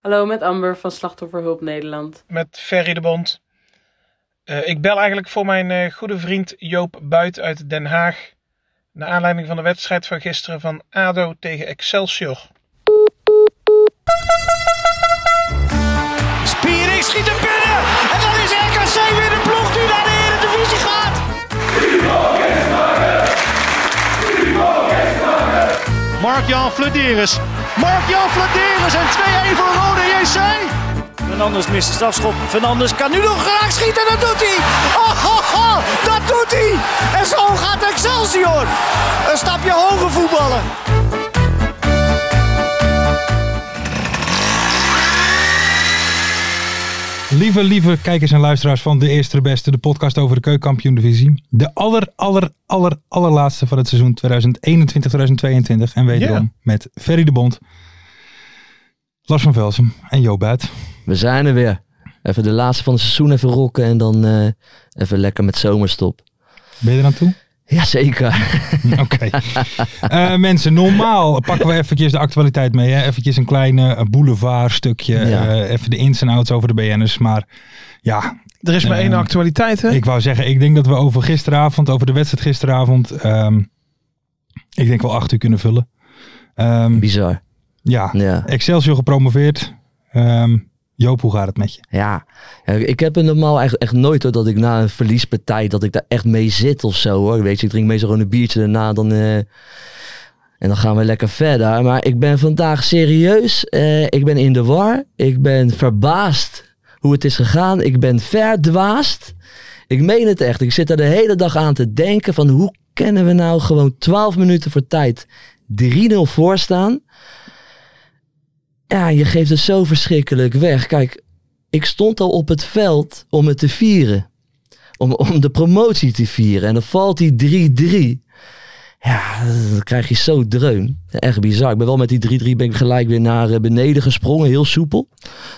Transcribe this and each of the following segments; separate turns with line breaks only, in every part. Hallo, met Amber van Slachtofferhulp Nederland.
met Ferry de Bond. Eh, ik bel eigenlijk voor mijn eh, goede vriend Joop Buit uit Den Haag. Naar aanleiding van de wedstrijd van gisteren van ADO tegen Excelsior.
Spiering schiet er binnen. En dan is RKC weer de ploeg die naar de Eredivisie gaat. Mark-Jan Flederis. Mark-Jan Flederis en 2-1 voor Rode JC. Fernandes mist de strafschop. Fernandes kan nu nog graag schieten. Dat doet hij. Oh, ho, ho, dat doet hij. En zo gaat Excelsior. Een stapje hoger voetballen.
Lieve, lieve kijkers en luisteraars van De Eerste de Beste, de podcast over de keukenkampioen divisie. De aller, aller, aller, allerlaatste van het seizoen 2021-2022. En wederom
Ja.
met Ferry de Bond, Lars van Velsen en Jo Buit.
We zijn er weer. Even de laatste van het seizoen even rocken en dan eh, even lekker met zomerstop.
Ben je er aan toe?
Jazeker.
Oké. Eh, mensen, normaal pakken we eventjes de actualiteit mee. Hè? Eventjes een klein eh, boulevardstukje.
Ja.
eh, even de ins en outs over de BN'ers. Maar ja,
Er is maar
Eh,
één
Ehm,
actualiteit, hè?
Ik wou zeggen, ik denk dat we over gisteravond, over de wedstrijd gisteravond, ehm, ik denk wel acht uur kunnen vullen. Ehm,
Bizar.
ja,
Ja.
Excelsior gepromoveerd. Ehm, Joop, hoe gaat het met je?
Ja. Ja, Ik heb het normaal echt, echt nooit hoor, dat ik na een verliespartij dat ik daar echt mee zit of zo hoor. Weet je, ik drink meestal gewoon een biertje daarna dan, eh, en dan gaan we lekker verder. Maar ik ben vandaag serieus. eh, ik ben in de war. Ik ben verbaasd hoe het is gegaan. Ik ben verdwaasd. Ik meen het echt. Ik zit daar de hele dag aan te denken van hoe kunnen we nou gewoon 12 minuten voor tijd 3-0 voor staan. Ja, je geeft het zo verschrikkelijk weg. Kijk, ik stond al op het veld om het te vieren. Om, om de promotie te vieren. En dan valt die 3-3. Ja, dan krijg je zo dreun. Echt bizar. Ik ben wel met die 3-3 ben ik gelijk weer naar eh, beneden gesprongen. Heel soepel.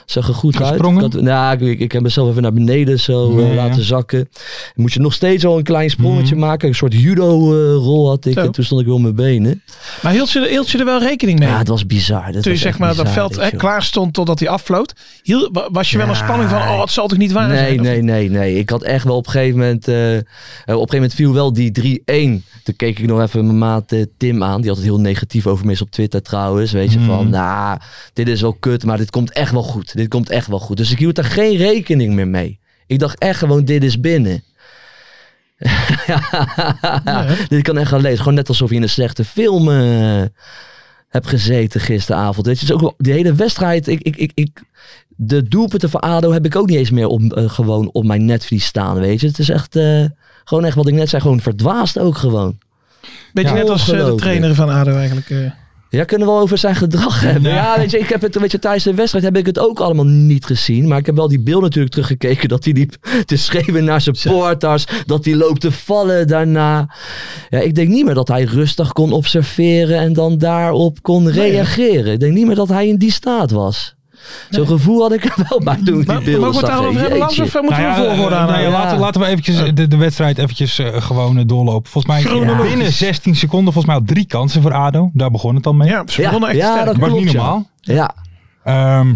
Zag er goed
Gesprongen?
uit. Ik had- nou, ik, ik heb mezelf even naar beneden zo eh,
Ja, Mhm. ja.
laten zakken. Dan moet je nog steeds al een klein sprongetje maken. Een soort judo-rol had ik.
Zo.
En toen stond ik weer op mijn benen.
Maar hield je, er- hield je er wel rekening mee?
Ja, het was bizar. Dat
Toen je
was
zeg
echt
maar dat
bizar,
veld
weet
hè,
je wel.
klaar stond totdat hij afvloot. Hield, wa- was je wel een
Ja.
spanning van, oh, het zal toch niet waar zijn?
Nee,
Of-
nee, nee, nee. Ik had echt wel op een gegeven moment. eh, eh, op een gegeven moment viel wel die 3-1. Toen keek ik nog even mijn maat eh, Tim aan. Die had het heel negatief over me is op Twitter trouwens. Weet je
Mm.
Hmm.
van, nou, dit is wel kut, maar dit komt echt wel goed. Dit komt echt wel goed. Dus ik hield daar geen rekening meer mee. Ik dacht echt gewoon, dit is binnen. Dit kan echt gaan lezen. Gewoon net alsof je in een slechte film eh, hebt gezeten gisteravond. Weet je, het is ook wel- die hele wedstrijd. Ik, ik, ik, ik, de doelpunten van ADO heb ik ook niet eens meer op, eh, gewoon op mijn netvlies staan, weet je. Het is echt, eh, gewoon echt wat ik net zei, gewoon verdwaasd ook gewoon.
Beetje
Ja.
net als eh, de
Ongelooflijk.
trainer van ADO eigenlijk. eh.
Ja, kunnen we wel over zijn gedrag hebben.
Ja.
Ja, weet je, ik heb het, weet je, tijdens de wedstrijd heb ik het ook allemaal niet gezien. Maar ik heb wel die beelden natuurlijk teruggekeken. Dat hij liep te schreeuwen naar supporters. Dat hij loopt te vallen daarna. Ja, ik denk niet meer dat hij rustig kon observeren en dan daarop kon reageren. Ik denk niet meer dat hij in die staat was. Zo'n gevoel had ik er wel bij toen
Maar,
ik die
mogen we
beelden
het
zag.
daarover hebben, Lars?
Jeetje.
Of eh, moeten we
Nou
een volgorde
eh, nou
aanhouden?
ja,
Ja.
laten, laten we eventjes eh, de, de wedstrijd eventjes eh, gewoon eh, doorlopen. Volgens mij
Chronologisch.
binnen 16 seconden, volgens mij al drie kansen voor ADO. Daar begon het al mee.
Ja, ze begonnen echt
ja,
sterk.
dat
was niet
klopt, ja.
normaal.
Ja,
Ehm,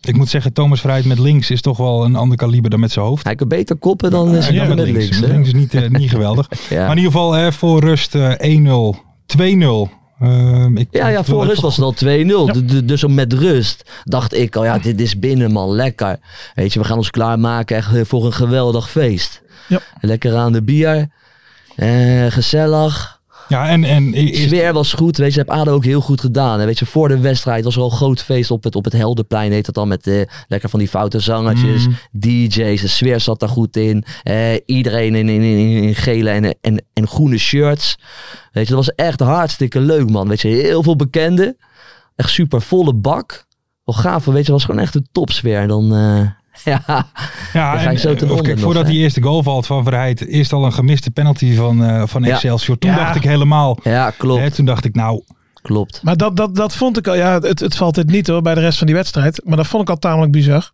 ik moet zeggen, Thomas Vrijheid met links is toch wel een ander kaliber dan met zijn hoofd.
hij kan beter koppen dan, eh,
En dan
dan met links.
Met
hè.
links is niet, eh, niet geweldig.
Ja.
Maar in ieder geval hè, voor rust eh, 1-0, 2-0. Ehm, ik-
Ja,
ik wil
ja, voor
even
rust was het al 2-0. Du- du- Dus om met rust dacht ik al, ja, dit is binnen man, lekker. Weet je, we gaan ons klaarmaken echt eh, voor een geweldig feest.
Ja.
Lekker aan de bier, eh, gezellig.
Ja, en, en i- is-
Sfeer was goed, weet je, heb ADO ook heel goed gedaan. En weet je, voor de wedstrijd was er al een groot feest op het, op het Helderplein, heet dat dan, met eh, lekker van die foute zangertjes,
Mm.
DJ's, de sfeer zat daar goed in. Eh, iedereen in, in, in, in gele en, en, en groene shirts. Weet je, dat was echt hartstikke leuk, man. Weet je, heel veel bekenden. Echt super volle bak. Wel gaaf, weet je, was gewoon echt een topsfeer. En dan eh, ja.
Ja,
Dan ga je zo ten
eh, of
onder
kijk,
nog,
voordat
hè?
die eerste goal valt van Verheid, is al een gemiste penalty van, eh van
Ja.
Excelsior. Toen
Ja.
dacht ik helemaal,
ja,
hè,
klopt.
toen dacht ik nou,
Klopt.
Maar dat, dat, dat vond ik al. Ja, het, het valt dit niet hoor bij de rest van die wedstrijd. Maar dat vond ik al tamelijk bizar.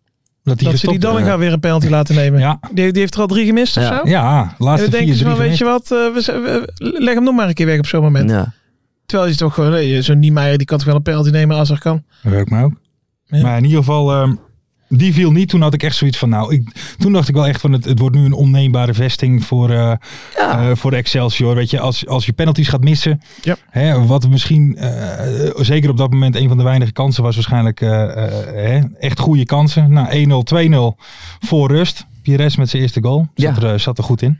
dat
dat die
ze die
gestopt- eh,
eh.
Dallinga weer een penalty laten nemen.
Ja,
Die, die heeft er al drie gemist of
Ja.
zo.
ja,
En dan
laatste
denken
vier,
ze
drie
van, weet je
gemist.
wat, eh, we, z- we- leg hem nog maar een keer weg op zo'n moment.
Ja.
Terwijl je toch gewoon, nee, zo'n Niemeyer die kan toch wel een penalty nemen als er kan.
Dat werkt mij ook.
Ja.
Maar in ieder geval, ehm, die viel niet. Toen had ik echt zoiets van, nou, ik, toen dacht ik wel echt van, het, het wordt nu een onneembare vesting voor, eh eh, voor de Excelsior. Weet je, als, als je penalties gaat missen,
Ja.
hè, wat misschien, eh, zeker op dat moment, een van de weinige kansen was waarschijnlijk eh, eh, hè, echt goede kansen. Nou, 1-0, 2-0 voor rust. Pires met zijn eerste goal. Zat,
Ja.
er, eh, zat er goed in.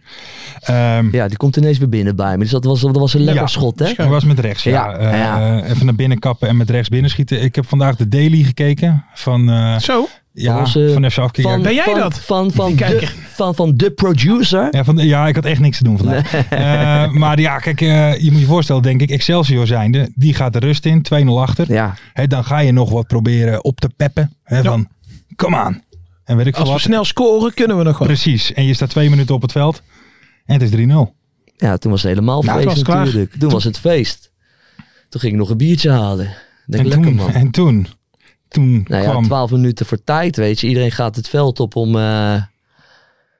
Ehm,
ja, die komt ineens weer binnen bij me. Dus dat was, dat was een lekker
Ja.
schot, hè?
Hij was met rechts, ja.
Ja,
Eh,
ja.
even naar binnen kappen en met rechts binnenschieten. Ik heb vandaag de Daily gekeken van, eh
Zo,
ja,
onze-
van FC Afkikken.
eh, Van-
Ben jij
van-
dat?
Van, van,
Kijk.
de, van, van de producer.
Ja, van, ja, ik had echt niks te doen vandaag. Eh, maar ja, kijk, eh, je moet je voorstellen, denk ik, Excelsior zijnde, die gaat de rust in, 2-0 achter.
Ja,
Hè, dan ga je nog wat proberen op te peppen. Hè, Van, kom aan. En weet ik veel
als we
wat.
snel scoren kunnen we nog wel.
Precies. En je staat twee minuten op het veld. En het is 3-0.
ja, toen was het helemaal
Nou,
feest
toen was het klaar.
natuurlijk. Toen, was het feest. Toen ging ik nog een biertje halen. Ik Denk,
En
lekker
toen,
man.
en toen, toen
Nou ja,
kwam...
12 minuten voor tijd, weet je. Iedereen gaat het veld op om eh,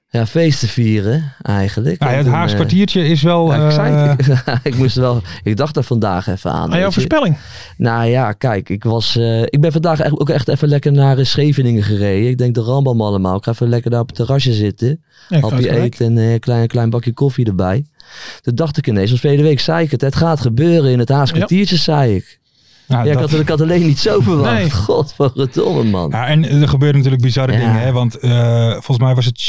ja, feest te vieren, eigenlijk.
Nou ja, het
En toen,
Haags
eh,
kwartiertje is wel...
ja, ik, zei
eh,
het. ik moest wel, ik dacht daar vandaag even aan.
Aan jouw
weet je.
voorspelling.
Nou ja, kijk, ik, was, eh, ik ben vandaag echt, ook echt even lekker naar eh, Scheveningen gereden. Ik denk de Rambam allemaal. Ik ga even lekker daar op het terrasje zitten.
Ja, groot
Hapje
gelijk.
eten en eh, een klein, klein bakje koffie erbij. Toen dacht ik ineens, want verleden week zei ik het. Het gaat gebeuren in het Haagse
Ja.
kwartiertje, zei ik.
nou,
Ja, ik,
dat-
had, ik had alleen niet zo verwacht.
Nee.
Godverdomme, man.
Ja, en er gebeuren natuurlijk bizarre
Ja.
dingen, hè? Want eh, volgens mij was het.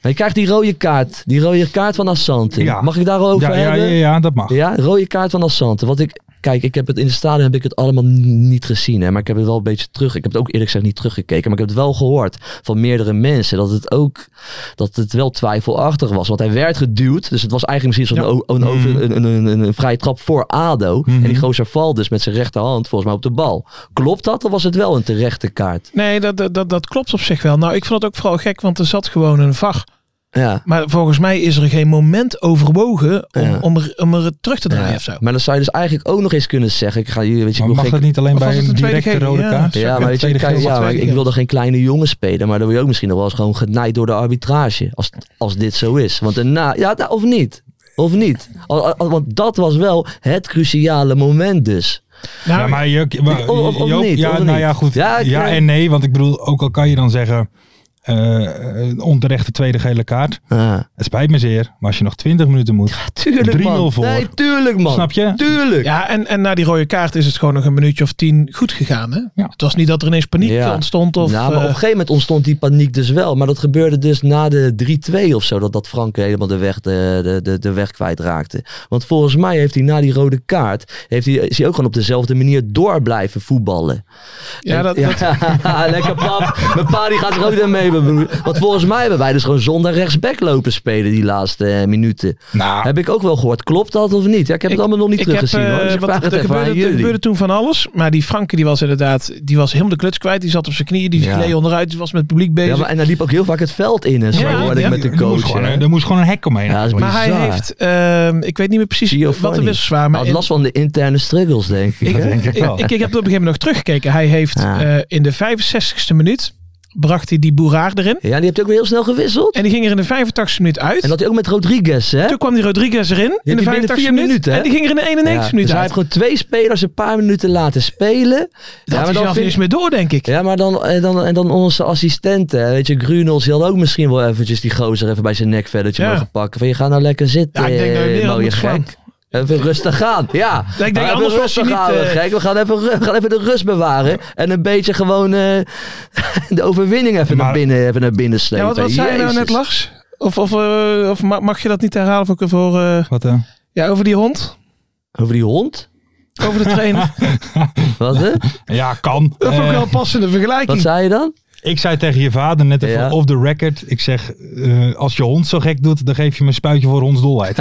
Hij krijgt die rode kaart. Die rode kaart van Assante.
Ja.
Mag ik daarover
Ja, ja,
hebben?
ja, ja, dat mag.
Ja, rode kaart van Assante. Want ik, kijk, ik heb het in de stadion heb ik het allemaal n- niet gezien. Hè, maar ik heb het wel een beetje terug. Ik heb het ook eerlijk gezegd niet teruggekeken. Maar ik heb het wel gehoord van meerdere mensen. Dat het ook dat het wel twijfelachtig was. Want hij werd geduwd. Dus het was eigenlijk misschien zo'n o- een,
Mm-hmm.
over- een, een, een, een, een vrije trap voor Ado. En die gozer valt dus met zijn rechterhand volgens mij op de bal. Klopt dat? Of was het wel een terechte kaart?
Nee, dat, dat, dat, dat klopt op zich wel. Nou, ik vond het ook vooral gek, want er zat gewoon een VAR.
Ja.
Maar volgens mij is er geen moment overwogen om,
Ja.
om, er, om er terug te draaien
Ja,
of zo.
Maar dan zou je dus eigenlijk ook nog eens kunnen zeggen. Ik ga jullie, weet je,
Maar
ik wil
mag
geen-
dat niet alleen
Of
bij
was het
een
een tweede
directe
gele?
rode
Ja.
kaart?
Ja, maar, weet je,
Tweede
kijk,
gele?
ja, maar
tweede
ik
geel.
wilde geen kleine jongen spelen. Maar dan wil je ook misschien nog wel eens gewoon genaaid door de arbitrage. Als, als dit zo is. Want daarna, ja, nou, of niet. Of niet. Al- al- want dat was wel het cruciale moment dus.
Nou,
Ja, maar Joop,
Of- of- of
Joop,
niet,
ja,
of
nou
niet.
ja, goed.
Ja,
Ja,
ik-
en nee, want ik bedoel, ook al kan je dan zeggen, eh, een onterechte tweede gele kaart.
Ja,
Het spijt me zeer, maar als je nog 20 minuten moet,
tuurlijk
3-0
man.
voor.
Nee, tuurlijk man.
snap je?
Tuurlijk.
Ja, en, en na die rode kaart is het gewoon nog een minuutje of tien goed gegaan. Hè?
Ja.
Het was niet dat er ineens paniek
Ja.
ontstond. Of,
nou, maar op
eh,
een gegeven moment ontstond die paniek dus wel. Maar dat gebeurde dus na de 3-2 of zo. Dat, dat Frank helemaal de weg, de, de, de, de weg kwijtraakte. Want volgens mij heeft hij na die rode kaart... Heeft hij, is hij ook gewoon op dezelfde manier door blijven voetballen.
ja,
En-
dat,
ja,
dat-
lekker pap. Mijn pa die gaat er ook naar mee, mijn broer. Want volgens mij hebben wij dus gewoon zonder rechtsback lopen spelen die laatste eh, minuten.
nou,
Heb ik ook wel gehoord. Klopt dat of niet? Ja, ik heb
Ik-
het allemaal nog niet
ik heb,
teruggezien hoor. Dus
eh,
ik
want
vraag het
er
even
gebeurde,
aan
er
jullie.
gebeurde toen van alles. Maar die Franke die was inderdaad, die was helemaal de kluts kwijt. Die zat op zijn knieën, die
Ja.
gleed onderuit, die was met het publiek bezig.
Ja, maar,
maar
en hij liep ook heel vaak het veld in en zo
Ja,
hoorde
ja.
ik met de
er moest,
coach.
gewoon,
hè.
er moest gewoon een hek omheen.
Ja, dat is
eigenlijk.
hij
bizar.
heeft, ehm, ik weet niet meer precies wat de
Giovanni.
wissels waren.
Hij
Maar
had
in-
last van de interne struggles, denk ik.
ik,
Dat denk ik wel.
ik, ik heb het op een gegeven moment nog teruggekeken. Hij heeft
Ja.
eh, in de 65ste minuut, bracht hij die Boeraar erin.
Ja, die heeft ook weer heel snel gewisseld.
En die ging er in de 85ste minuut uit.
En dat hij ook met Rodriguez, hè?
Toen kwam die Rodriguez erin
Die
in de
heb je binnen
85
vier
minuten.
minuten, hè?
en die ging er in de 91
Ja, dus
minuten
hij
uit.
heeft gewoon twee spelers een paar minuten laten spelen.
Dat
ja,
is
maar dan
zelf niet
vind
eens meer door, denk ik. Nou,
Ja, maar dan, en dan, en dan onze assistenten. hè. Weet je, Grunels die had ook misschien wel eventjes die gozer even bij zijn nekvelletje
Ja.
mogen pakken. Van je gaat nou lekker zitten,
Ja, ik denk dat je
eh,
meer had
mooie
moeten slaan.
gek. Even rustig aan, ja.
denk
Maar even
anders was
rustig
hij niet,
aan,
eh,
gek. We gaan even, ru- we gaan even de rust bewaren. En een beetje gewoon eh, de overwinning even,
Maar-
naar binnen, even naar binnen
Ja,
slepen.
wat, wat zei je nou
Jezus.
net, Lars? Of, of, eh, of ma- mag je dat niet herhalen voor, voor, eh,
Wat, eh?
ja, over die hond?
Over die hond?
Over de trainer?
Wat, hè?
ja, kan.
dat vond ik
Eh,
wel een passende
wat
vergelijking.
zei je dan?
Ik zei tegen je vader net even
Ja.
off the record. Ik zeg, eh, als je hond zo gek doet, dan geef je hem een spuitje voor hondsdolheid.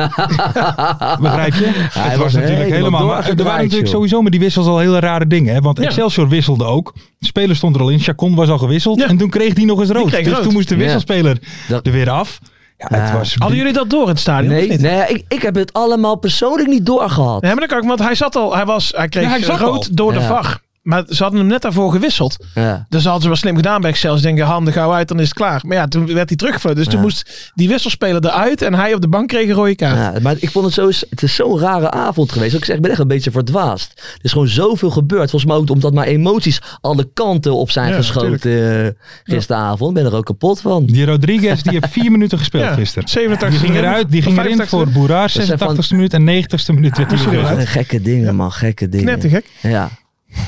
Begrijp je? het
was
was natuurlijk
helemaal
helemaal... maar er
doorgedraaid,
waren natuurlijk
joh.
sowieso met die wissels al hele rare dingen. Hè? Want
Ja.
Excelsior wisselde ook. De speler stond er al in. Chacon was al gewisseld.
Ja.
En toen kreeg die nog eens rood.
kreeg
Dus
rood.
toen moest de
Ja.
wisselspeler
Dat-
er weer af. Ja, het
Ja.
was...
Hadden jullie dat door in het stadion?
Nee,
of niet?
nee ik, ik heb het allemaal persoonlijk niet doorgehad.
Nee, maar dat kan ik, want hij zat al, hij, was, hij kreeg
Ja, hij zat
rood
al.
door de
Ja.
VAR. Maar ze hadden hem net daarvoor gewisseld.
Ja.
Dus dat hadden ze wel slim gedaan bij Excel. Ze denken, handen gauw uit, dan is het klaar. Maar ja, toen werd hij teruggefloten. Dus toen moest die wisselspeler eruit en hij op de bank kreeg een rode kaart.
Ja, maar ik vond het zo, het is zo'n rare avond geweest. Ik, zeg, ik ben echt een beetje verdwaasd. Er is gewoon zoveel gebeurd. Volgens mij ook omdat mijn emoties alle kanten op zijn
Ja,
geschoten eh, gisteravond. Ik ben er ook kapot van.
Die Rodriguez, die heeft vier minuten gespeeld
Ja,
gisteren.
87
Die ging eruit, die ging erin
85e.
voor Boeraar,
zijn van-
86e minuut en 90e minuut werd hij
moest hij
gewisseld.
eruit.
Eh, Gekke dingen, man. Gekke dingen.
Knettergek.
Ja.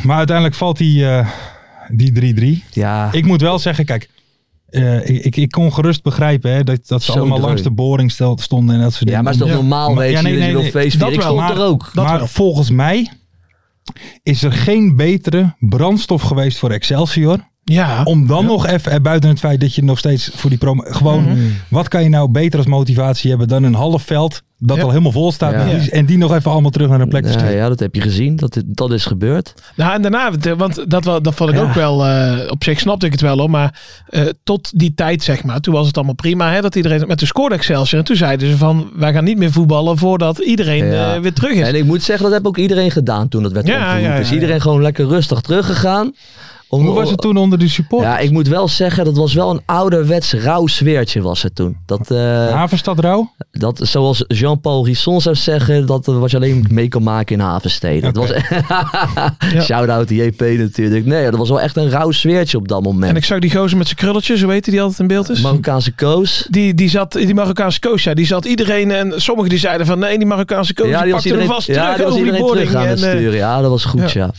Maar uiteindelijk valt die, eh, die 3-3.
Ja.
Ik moet wel zeggen, kijk, eh, ik, ik, ik kon gerust begrijpen hè, dat, dat ze
Zo
allemaal
druk.
langs de boring stel- stonden en dat soort
ja,
dingen.
maar is toch normaal,
Maar-
weet je?
ja, nee,
dat je
nee,
wil
nee,
feest
dat
Ik
wel,
stond
maar-
er ook.
maar volgens mij is er geen betere brandstof geweest voor Excelsior.
Ja.
Om dan nog even, eh, buiten het feit dat je nog steeds voor die promo... Gewoon,
Mhm.
wat kan je nou beter als motivatie hebben dan een half veld dat
Ja.
al helemaal vol staat.
Ja.
met die- En die nog even allemaal terug naar een plek te
Ja,
sturen.
ja, dat heb je gezien. Dat, dit- dat is gebeurd.
Nou, en daarna, want, eh, want dat, wel, dat vond ik ook wel, eh, op zich snapte ik het wel hoor, maar eh, tot die tijd zeg maar, toen was het allemaal prima hè, dat iedereen, maar toen scoorde Excelsior en toen zeiden ze van, wij gaan niet meer voetballen voordat iedereen
Ja.
eh, weer terug is.
En ik moet zeggen, dat heb ook iedereen gedaan toen dat werd
Ja,
opgeroepen.
ja, ja,
Is
ja.
iedereen gewoon lekker rustig teruggegaan. Om-
Hoe was het toen onder de support?
Oh. Ja, ik moet wel zeggen, dat was wel een ouderwets rauw sfeertje was het toen. Dat, eh,
Havenstad Rauw?
dat zoals Jean-Paul Risson zou zeggen, dat eh, wat je alleen mee kan maken in Havensteden. Dat was, Shout-out JP natuurlijk. Nee, dat was wel echt een rauw sfeertje op dat moment.
En ik zag die gozer met zijn krulletjes, hoe heet die die altijd in beeld is?
Marokkaanse koos.
Die, die, zat, die Marokkaanse coach, ja, die zat iedereen en sommigen die zeiden van nee, die Marokkaanse coach die pakte hem vast
ja, die
terug
was
over die
iedereen
boarding.
terug aan het
en, eh,
sturen. Ja, dat was goed, ja.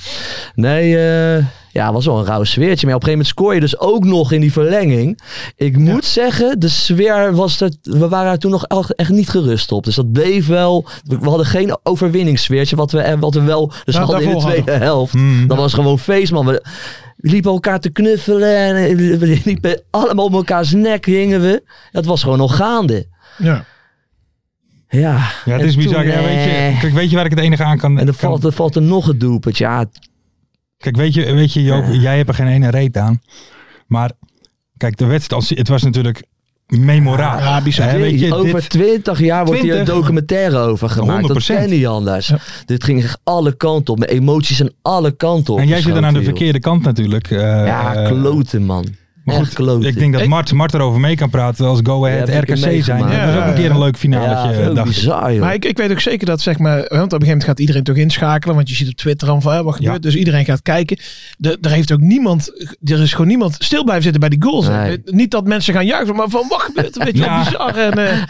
Nee, eh, ja, het was wel een rauw sfeertje. Maar op een gegeven moment scoor je dus ook nog in die verlenging. Ik moet zeggen, de sfeer was er... We waren er toen nog el- echt niet gerust op. Dus dat bleef wel... We we hadden geen overwinningssfeertje, wat we, eh, wat we wel... Dus
Ja,
we hadden in de
Nou, daarvoor Hmm,
tweede helft. Dat was gewoon feest, man. We, we liepen elkaar te knuffelen en eh, we liepen allemaal om elkaars nek hingen we. Dat was gewoon nog gaande.
ja.
Ja,
Ja, het
en
is bizar.
toen,
Ja, weet, je,
eh,
kijk, weet je waar ik het enige aan kan...
en dan
kan-
valt, er valt er nog een doelpunt. Ja,
Kijk, weet je, weet je Joop, jij hebt er geen ene reet aan. Maar kijk, de wedstrijd, als- het was natuurlijk memorabel.
Ja, bizar.
Hè, weet je,
over
dit,
20 jaar wordt hier een
20?
documentaire over gemaakt. Dat
100%.
ken je anders. Dit ging echt alle kanten op. Mijn emoties aan alle kanten op.
en jij zit dan aan de
geschoten, joh.
verkeerde kant natuurlijk. eh,
Ja,
eh,
kloten man.
Maar
Echt
goed,
kloten.
ik denk dat Mart, Mart erover mee kan praten als Go
Ja,
Ahead
heb ik
RKC zijn.
meegemaakt.
Dat was
Ja,
ook een keer een leuk
ja,
finaletje, eh,
zo
dacht ik.
bizar joh.
Maar ik, ik weet ook zeker dat, zeg maar, want op een gegeven moment gaat iedereen toch inschakelen, want je ziet op Twitter dan van, hè, wat gebeurt,
Ja.
dus iedereen gaat kijken. De, er heeft ook niemand, er is gewoon niemand stil blijven zitten bij die goals. hè.
Nee.
Niet dat mensen gaan juichen, maar van, wat gebeurt er, weet je, wel,
Ja.
bizar. En, eh,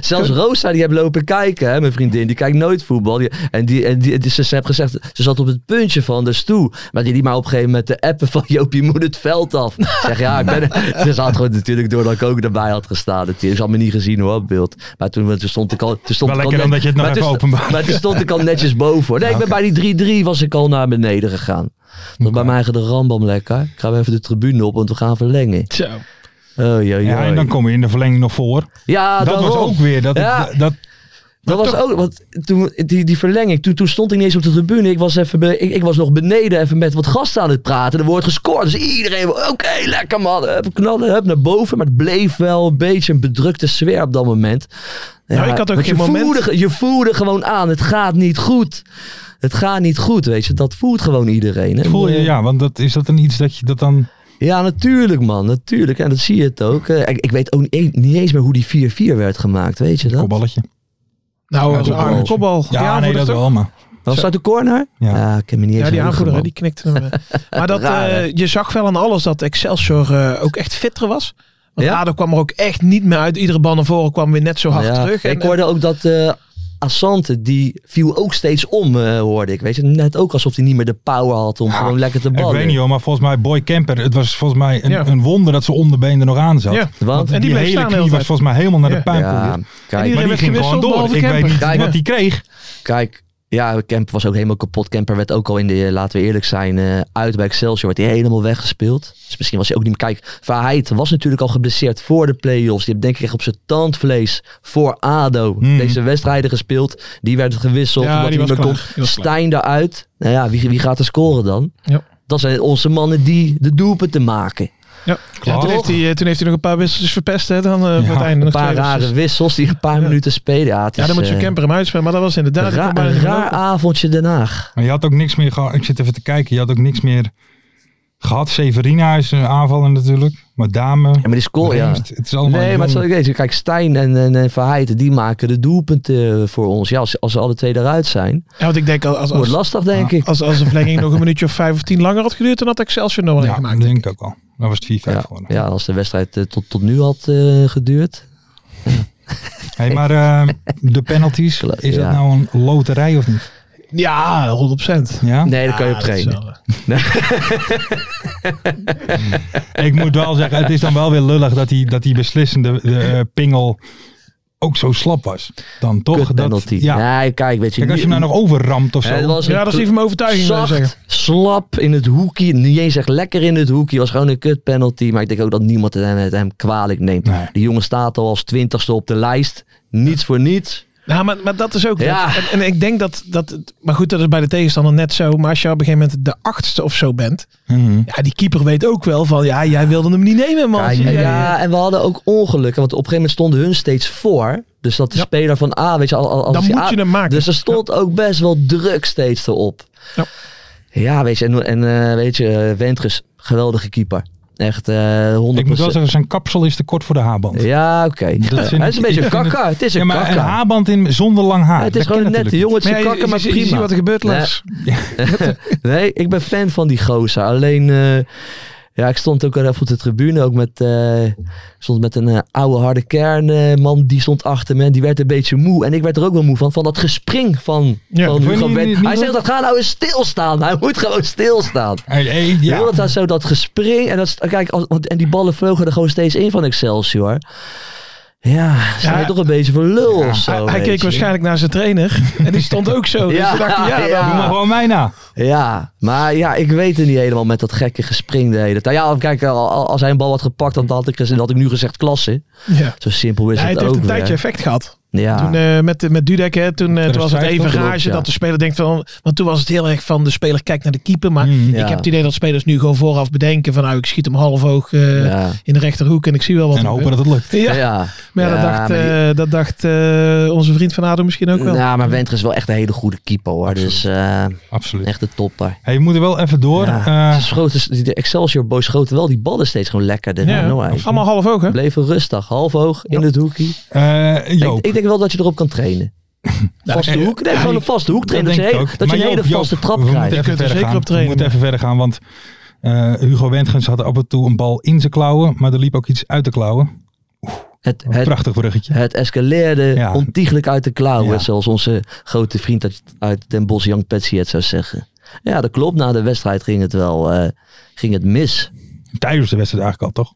Zelfs Rosa die heeft lopen kijken, hè, mijn vriendin. Die kijkt nooit voetbal. Die, en die, en die, die- ze, ze heeft gezegd, ze zat op het puntje van de stoel. Maar die die maar op een gegeven moment de appen van Joop, je moet het veld af. Ik zeg, ja, ik ben... er. Ze had gewoon natuurlijk door dat ik ook erbij had gestaan. natuurlijk. Ze had me niet gezien hoor, op beeld. Maar toen, toen stond ik al... Toen stond
Wel
ik al
lekker
net-
omdat je het nog
maar
even
toen-
openbaar-
Maar toen stond ik al netjes boven. Hoor. Nee, ik ben bij die 3-3 was ik al naar beneden gegaan. Dat bij mij gaat de rambam lekker. Ik ga weer even de tribune op, want we gaan verlengen.
zo.
Oh, joh,
Ja, en dan kom je in de verlenging nog voor.
ja,
dat was
daarom.
ook weer. Dat,
Ja.
dat,
Dat was ook, want toen, die, die verlenging, toen, toen stond ik niet eens op de tribune. Ik was, even be- ik, ik was nog beneden even met wat gasten aan het praten. Er wordt gescoord, dus iedereen, oké, lekker man. Hup, knallen, hup, naar boven. Maar het bleef wel een beetje een bedrukte sfeer op dat moment. Ja,
Nou, ik had ook
want je
geen moment.
voelde ge- je voelde gewoon aan, het gaat niet goed. Het gaat niet goed, weet je. Dat voelt gewoon iedereen. hè.
voel je, ja, want dat, is dat dan iets dat je dat dan...
Ja, natuurlijk man, natuurlijk. En dat zie je het ook. Eh, Ik, ik weet ook niet, niet eens meer hoe die 4-4 werd gemaakt, weet je dat?
Kopballetje.
Nou,
Ja,
dat was een
kopbal.
arme kopbal.
Ja,
Die
nee,
aanvoerder
dat
toch?
wel, maar...
Was dat de corner?
Ja.
ik heb me niet eens
Ja, die
heugen,
aanvoerder, hè,
man.
die knikte hem. eh. Maar dat,
Raar, hè?
eh, je zag wel aan alles dat Excelsior eh, ook echt fitter was. Want
Ja?
Ado kwam er ook echt niet meer uit. Iedere bal naar voren kwam weer net zo hard
Ja,
terug.
Ik
En-
hoorde ook dat eh Assante, die viel ook steeds om, eh, hoorde ik. Weet je, net ook alsof hij niet meer de power had om gewoon lekker te ballen.
Ah, Ik weet niet hoor, maar volgens mij Boy Kemper, het was volgens mij een,
Ja.
een wonder dat zijn onderbeen er nog aan zat.
Ja.
Want,
En
Die,
die bleef
hele
staan de
knie
hele
was
tijd.
volgens mij helemaal naar de
Ja.
puinpoel.
ja,
Maar
kijk,
En
die
werd
ging gewoon
gewisseld,
door.
behalve
Ik weet
Kemper.
niet
Kijk.
wat die kreeg.
kijk, ja, Kemp was ook helemaal kapot. Kemper werd ook al in de, eh, laten we eerlijk zijn, eh, uit bij Excelsior werd hij helemaal weggespeeld. Dus misschien was hij ook niet meer... Kijk, Verheid was natuurlijk al geblesseerd voor de play-offs. Die heeft denk ik echt op zijn tandvlees voor ADO
Hmm.
deze wedstrijden gespeeld. Die werd gewisseld
Ja,
omdat
die
hij
was
niet meer kon.
klaar. Die was
Stijn eruit. Nou ja, wie, wie gaat er scoren dan?
Ja.
Dat zijn onze mannen die de doelpunten maken.
Ja.
Klopt.
toen, heeft hij, eh, toen heeft hij nog een paar wisseltjes verpest. Hè, dan, eh, voor het
Ja,
einde
Een
nog
paar
twee
rare
wissels.
wissels die een paar minuten spelen. Ja, het
Ja,
is,
dan moet je
eh,
camper hem uitspelen. Maar dat was inderdaad... die
raar-
kon bijna
een
niet meer
raar
lopen.
avondje Den Haag.
Maar je had ook niks meer gehad. Ik zit even te kijken. Je had ook niks meer gehad. Severina is een aanvaller natuurlijk. Maar Dame.
Ja, maar die score, ja.
Reemst, Het is
Oh
allemaal
Nee, maar het is wel deze. Kijk, Stijn en, en, en Verheid, die maken de doelpunten eh, voor ons. Ja, als, als ze alle twee eruit zijn.
Ja, want ik denk als, als,
Wordt
als,
lastig, denk ik.
als, de verlenging nog een minuutje of vijf of tien langer had geduurd... dan had Excelsior nog wel
ja,
gemaakt.
denk ik ook al. Dan was het 4-5
Ja,
geworden.
ja, als de wedstrijd eh, tot, tot nu had eh, geduurd.
Hey, maar eh, de penalties,
Klopt,
is
ja.
dat nou een loterij of niet?
Ja, 100%.
Ja?
Nee, daar kan je op
Ah, dat is
trainen.
wel, eh,
Ik moet wel zeggen, het is dan wel weer lullig dat die, dat die beslissende eh, pingel ook zo slap was. Dan toch?
Kut
Dat-
penalty.
ja.
Nee, kijk, weet je.
Kijk, als je
nu-
hem nou nog overramt of zo.
Ja, dat was een
Ja, dat is
kle-
even mijn overtuiging. wil ik
Zacht,
zeggen.
slap in het hoekje. Niet eens echt lekker in het hoekje. Was gewoon een kut penalty. Maar ik denk ook dat niemand het hem, het hem kwalijk neemt.
Nee.
Die jongen staat al als twintigste op de lijst. Niets voor niets.
Nou, maar, maar dat is ook...
Ja.
En, en ik denk dat, dat... het- Maar goed, dat is bij de tegenstander net zo. Maar als je op een gegeven moment de achtste of zo bent...
Mhm.
Ja, die keeper weet ook wel van... Ja, jij wilde hem niet nemen, man.
Kijk,
Zie jij-
ja, en we hadden ook ongelukken. Want op een gegeven moment stonden hun steeds voor. Dus dat de
Ja.
speler van A, weet je, al, al- als
Dan
die
moet
A-
je hem maken.
Dus er stond ook best wel druk steeds erop.
Ja.
Ja, weet je, en, en eh, weet je, eh, Wentges, geweldige keeper. Echt eh 100%.
Ik moet wel zeggen, zijn kapsel is te kort voor de haarband.
Ja, oké.
vind
Ja,
ik-
Hij is een beetje
ik
een
vind het-
kakka. Het is een
Ja, maar een
kakka.
haarband in, zonder lang haar.
Ja, het
Dat
is gewoon
ken
een nette
natuurlijk
jongen. Het is
Maar
een
ja,
kakker,
je,
maar
je- je ziet
prima.
wat er gebeurt, Lars.
Nee, ik ben fan van die gozer. Alleen, eh, ja, ik stond ook al even op de tribune. Ook met, eh, ik stond met een eh, oude harde kernman. man die stond achter me. en Die werd een beetje moe. En ik werd er ook wel moe van. Van dat gespring van,
Ja,
van
vond je
Hugo
niet-
Wen-
niet- niet
Hij zegt,
leuk?
dat gaat nou eens stilstaan. Hij moet gewoon stilstaan.
Hey, hey,
Ja.
ja.
dat daar zo dat gespring. En, dat, is- kijk, als, want- en die ballen vlogen er gewoon steeds in van Excelsior. Ja, sta je
Ja.
toch een beetje voor lul of zo.
Ah, Hij- hij
weet
keek
je.
waarschijnlijk naar zijn trainer. En die stond ook zo. Dus
Ja,
toen dacht hij, ja,
ja.
Doe maar gewoon mij na.
Ja, maar ja, ik weet het niet helemaal met dat gekke gespring de hele tijd. Ja, kijk, al- al- als hij een bal had gepakt, dan had ik, gez- dan had ik nu gezegd klasse.
dan- ja.
Zo simpel is
Ja,
het,
het heeft
ook
een tijdje
weer.
effect gehad.
Ja,
Toen, eh, met, met Dudek, hè, toen, eh, toen was het even
Klopt,
rage
ja.
dat de speler denkt van... Want toen was het heel erg van de speler kijkt naar de keeper. Maar
Mm.
ik
Ja.
heb het idee dat spelers nu gewoon vooraf bedenken van... Nou, ik schiet hem half hoog eh,
ja.
in de rechterhoek en ik zie wel wat
En
er
hopen dat het lukt.
gebeurt. Ja,
Ja, ja.
maar ja, dat dacht,
maar die-
eh, dat dacht eh, onze vriend van Ado misschien ook wel.
Nou, maar Wentger is wel echt een hele goede keeper hoor. Dus eh,
Absoluut.
echt een topper.
Hey, we moeten wel even door.
Ja.
Eh,
Ze schoten- die- de Excelsior boys schoten wel die ballen steeds gewoon lekker. De
Ja, allemaal half hoog, hè?
Bleven rustig, half hoog in het hoekje.
eh, Joop.
Ik, ik denk wel dat je erop kan trainen. vaste
eh,
hoek? Nee,
ja,
gewoon
ik-
een vaste hoek
Dat
trainen. Dat,
denk
je
ik
een
ook.
hele- dat je
Maar
een hele
Joop, Joop,
vaste
we
trap
moeten
krijgt.
even
kunt er
verder
zeker
gaan.
op trainen.
We moeten even verder gaan, want eh, Hugo Wentgens had af en toe een bal in zijn klauwen, maar er liep ook iets uit de klauwen.
Het,
Een
het,
prachtig bruggetje.
Het escaleerde
Ja.
ontiegelijk uit de klauwen,
Ja.
zoals onze grote vriend uit- uit Den Bosch, Jan Petsy, het zou zeggen. Ja, dat klopt. Na de wedstrijd ging het wel eh, ging het mis.
Tijdens de wedstrijd eigenlijk al, toch?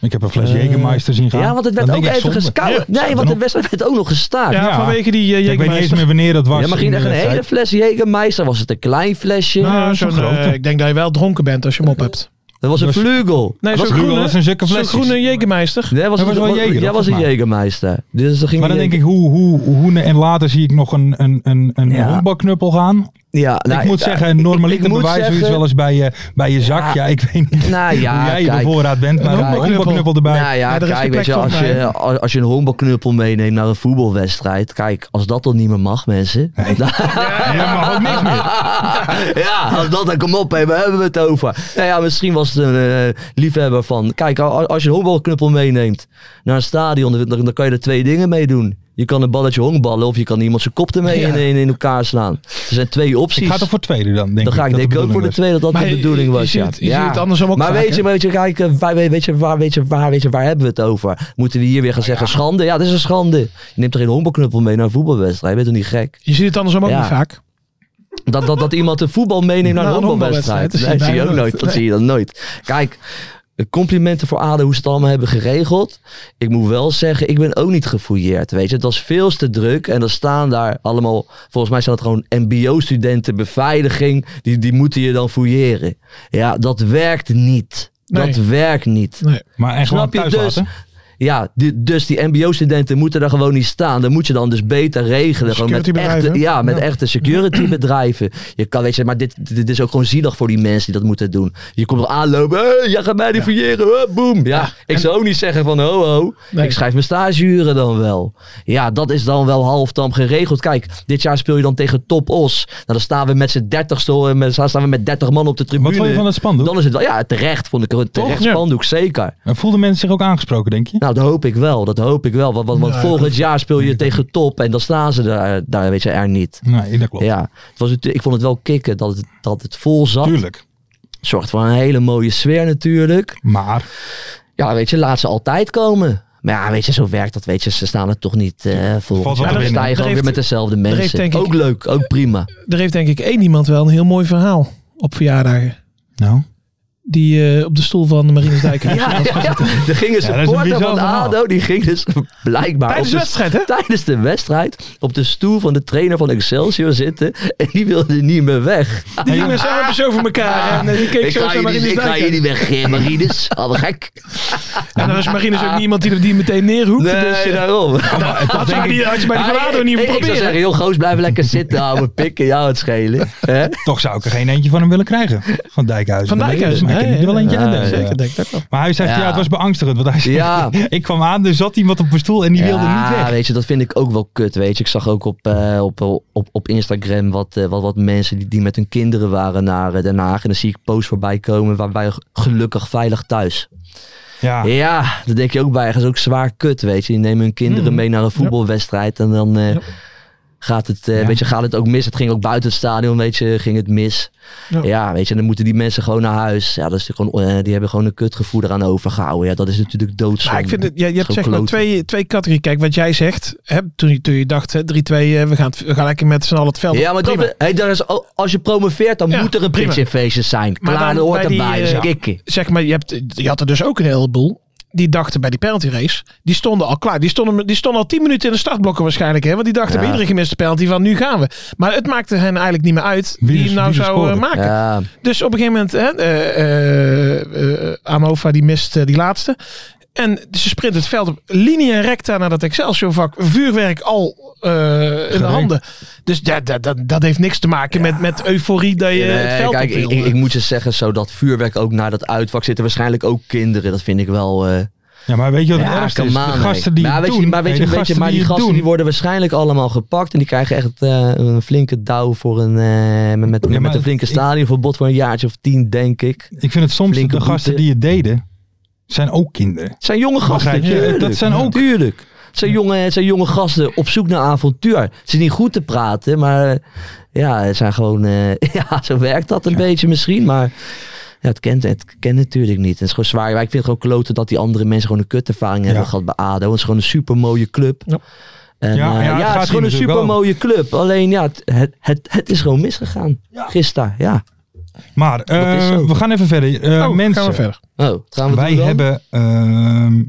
Ik heb een fles
Eh,
Jägermeister zien gaan.
Ja, want het werd
Dan
ook
denk ik,
even
zonde.
geskouden.
Ja,
nee,
dan
want de
ook.
wedstrijd werd ook nog gestaakt.
Ja,
Ja.
vanwege die uh,
Ik weet niet eens meer wanneer dat was.
ja, maar
in
ging
de
echt een hele
wedstrijd.
fles Jägermeister? Was het een klein flesje?
Nou, zo'n,
zo'n grote.
eh, ik denk dat je wel dronken bent als je hem op hebt.
dat was een
dat was-
vleugel.
Nee,
Dat
zo'n
was Ruud, dat was
groene,
een zulke
zo'n
flesjes.
groene Jägermeister.
Nee, was
Dat was wel Jäger,
Ja, was een
volgens mij.
Jägermeister. Dus dan ging
Maar dan
die-
denk ik, hoe, hoe, hoe en later zie ik nog een, een, een, een
Ja.
honkbalknuppel gaan.
ja, nou,
ik moet
ja,
zeggen,
ik- ik
normaliter
moet
bewijs zoiets
zeggen-
wel eens bij je, bij je zak.
Ja.
Ja, ik weet niet
Nou ja,
hoe jij je
kijk.
bevoorraad bent, maar
Een
een honkbalknuppel
honkbalknuppel
erbij.
Nou ja,
Ja, daar is
kijk,
geen
weet je,
plek
als
voor
je, als als je een honkbalknuppel meeneemt naar een voetbalwedstrijd, kijk, als dat dan niet meer mag, mensen. Nou,
Ja, maar ook niks meer.
ja, als dat dan kom op, hè, waar hebben we het over? Nou ja, misschien was het een eh, liefhebber van. Kijk, al- als je een honkbalknuppel meeneemt naar een stadion, dan, dan kan je er twee dingen mee doen. Je kan een balletje honkballen of je kan iemand zijn kop ermee in, in, in elkaar slaan. Er zijn twee opties.
Ik ga toch voor tweede dan, denk
dan ga ik
dat
denk ik
de
ook voor de
bedoeling
tweede dat dat
Maar
de
je-
bedoeling
je
was.
ziet
ja.
het- je ziet
ja.
het andersom ook
Maar
vaak,
weet, je,
hè?
weet, je, kijk, eh, waar, weet, je, waar, weet, je, waar, weet je, waar hebben we het over? Moeten we hier weer gaan
Nou
zeggen schande? Ja, dat is een schande. Je neemt er geen honkbalknuppel mee naar een voetbalwedstrijd. Je bent toch niet gek?
Je ziet het andersom ook
Ja.
niet vaak.
Dat, dat, dat iemand de voetbal meeneemt naar een
Nou, een
honkbalwedstrijd.
honkbalwedstrijd,
Dat zie je ook
bijna
nooit. Dat
nooit.
zie je dan nooit. Kijk, Complimenten voor ADO hoe ze het allemaal hebben geregeld. Ik moet wel zeggen, ik ben ook niet gefouilleerd. Weet je, het was veel te druk. En dan staan daar allemaal, volgens mij zijn dat gewoon MBO-studenten, beveiliging. Die, die moeten je dan fouilleren. Ja, dat werkt niet.
Nee.
Dat werkt niet.
Nee.
Maar en gewoon
Snap je?
thuis
Dus-
laten.
Ja, die- dus die MBO-studenten moeten daar gewoon niet staan. Dat moet je dan dus beter regelen. Gewoon met
Securitybedrijven.
echte, ja, met
Ja.
echte securitybedrijven. Je kan, weet je, maar dit, dit is ook gewoon zielig voor die mensen die dat moeten doen. Je komt er aanlopen, hey, jij gaat mij definiëren, huh, boem. Ja, ik zou ook niet zeggen van ho ho,
Nee.
ik schrijf mijn stageuren dan wel. Ja, dat is dan wel halfdam geregeld. Kijk, dit jaar speel je dan tegen Top Os. Nou, dan staan we met z'n dertigste, eh, met, staan we met dertig man op de tribune.
Wat vond je van het spandoek?
Dan is het wel, ja, terecht vond ik het terecht
Ja.
spandoek, zeker.
En voelden mensen zich ook aangesproken, denk je?
Nou, dat hoop ik wel. Dat hoop ik wel. Want, want, want volgend jaar speel je tegen top en dan staan ze daar, daar weet je, er niet.
Nee, dat klopt.
Ja, het was, natuurlijk- ik vond het wel kicken dat het, dat het vol zat.
Tuurlijk.
Zorgt voor een hele mooie sfeer natuurlijk.
Maar
Ja, weet je, laat ze altijd komen. Maar ja, weet je, zo werkt dat. Weet je, ze staan er toch niet eh
Valt
volgend
wel
jaar.
te
Dan
winnen.
sta je
Er
gewoon weer
heeft-
met dezelfde
heeft
mensen.
denk ik-
ook leuk, ook prima.
Er heeft denk ik één iemand wel een heel mooi verhaal op verjaardagen.
nou,
Die eh, op de stoel van de Marinesdijk.
Ja, ja, ja. Er
dat
ging een
is een
supporter
bizar
van
verhaal.
ADO, die ging dus blijkbaar...
Tijdens
op
de wedstrijd, hè?
Tijdens de wedstrijd op de stoel van de trainer van Excelsior zitten. En die wilde niet meer weg.
Die jongens eh, hebben ze over elkaar. En eh, die keek
ik,
zo
ga
naar
jullie, ik ga
Marinesdijk.
jullie weg, eh, Marines. Allemaal gek.
En dan is Marines ook niemand die, die meteen neerhoekt.
Nee,
dus,
nou,
eh,
daarom.
had, je die, had je bij de
Ah,
Verado niet moeten
ik- Ik zou
proberen.
zeggen, joh, goos, blijf lekker zitten, ouwe pikken. Jou het schelen. Hè?
toch zou ik er geen eentje van hem willen krijgen. Van Dijkhuizen.
Van
Dat weet ik,
Dijkhuizen.
Maar ik
nee,
heb er wel eentje
ja,
aan. denken.
Zeker, denk ik dat wel.
Maar hij zegt, ja.
Ja.
het was beangstigend. Want hij zegt,
Ja.
ik kwam aan, er zat iemand op mijn stoel en die wilde niet weg.
weet je, dat vind ik ook wel kut, weet je. Ik zag ook op, eh, op, op, op Instagram wat, eh, wat, wat mensen die, die met hun kinderen waren naar eh, Den Haag. En dan zie ik posts voorbij komen waarbij gelukkig veilig thuis.
Ja,
Ah.
Ja, dat denk je ook bij. Dat is ook zwaar kut, weet je. Die nemen hun kinderen
Mm.
mee naar een voetbalwedstrijd en dan eh, gaat, het, eh,
Ja.
weet je, gaat het ook mis. Het ging ook buiten het stadion, weet je, ging het mis.
Ja.
Ja, weet je, en dan moeten die mensen gewoon naar huis. Ja, dat is natuurlijk gewoon, eh, die hebben gewoon een kutgevoel eraan overgehouden. Ja, dat is natuurlijk doodzonde.
Maar ik vind het, ja, je hebt
Zo'n
zeg maar
klote.
twee, twee categorieën. Kijk, wat jij zegt, hè, toen, je, toen je dacht, hè, 3-2, eh, we, gaan het- we gaan lekker met z'n allen het veld. op.
Ja, maar dat,
Prima.
hey, daar is, al- als je promoveert, dan
Ja,
moet er een
prima.
pritchenfeestje zijn.
Maar
Klaar,
dan
dat hoort
bij die,
erbij. Dat is
eh,
kikken.
zeg maar, je, hebt, je had er dus ook een heleboel. Die dachten bij die penalty race, die stonden al klaar. Die stonden, die stonden al 10 minuten in de startblokken waarschijnlijk. Hè? Want die dachten
Ja.
bij iedere gemiste penalty van nu gaan we. Maar het maakte hen eigenlijk niet meer uit wie,
Wie dus-
hem nou
wie dus
zou eh,
scoren.
maken.
Ja,
Dus op een gegeven moment, hè, eh, eh, eh, Anova die mist eh, die laatste. En ze sprint het veld op linea recta naar dat Excelsior vak. Vuurwerk al eh, in de handen. Dus ja, dat, dat, dat heeft niks te maken met, met euforie dat je het
Nee,
veld
kijk,
op wil.
ik, ik, ik moet je zeggen, zo dat vuurwerk ook naar dat uitvak zitten waarschijnlijk ook kinderen. Dat vind ik wel... eh,
ja, maar weet je wat het
Ja,
ergste
come
is? De
on,
gasten
hey.
die
maar
het
weet
doen,
je, maar weet
hey,
je,
de
weet je, maar die
het
gasten
doen,
die worden waarschijnlijk allemaal gepakt en die krijgen echt eh, een flinke douw voor een eh, met, met,
Ja, maar
met een
het-
flinke
ik-
stadionverbod voor een jaartje of tien, denk ik.
Ik vind het soms,
flinke
de gasten
boete.
die het deden, zijn ook kinderen.
Het zijn jonge gasten.
Begrijp je?
tuurlijk.
Dat zijn ook-
Tuurlijk. Het zijn, jonge, het zijn jonge gasten op zoek naar avontuur. Ze zijn niet goed te praten, maar eh, ja, het zijn gewoon. eh, ja, zo werkt dat een beetje misschien, maar. Ja, het kent, het kent natuurlijk niet. Het is gewoon zwaar. Maar ik vind het gewoon kloten dat die andere mensen gewoon een kutervaring hebben
Ja.
gehad bij ADO. Het is gewoon een supermooie club.
Ja.
En, eh,
Ja, ja,
ja,
het
het,
gaat hier
is gewoon een
natuurlijk wel
supermooie club. Alleen ja, het, het, het, het is gewoon misgegaan. Gisteren, ja.
Maar eh,
is zo.
we gaan even verder. Eh,
Oh,
mensen,
gaan we verder.
Oh, wat gaan we
wij
doen dan?
hebben ehm,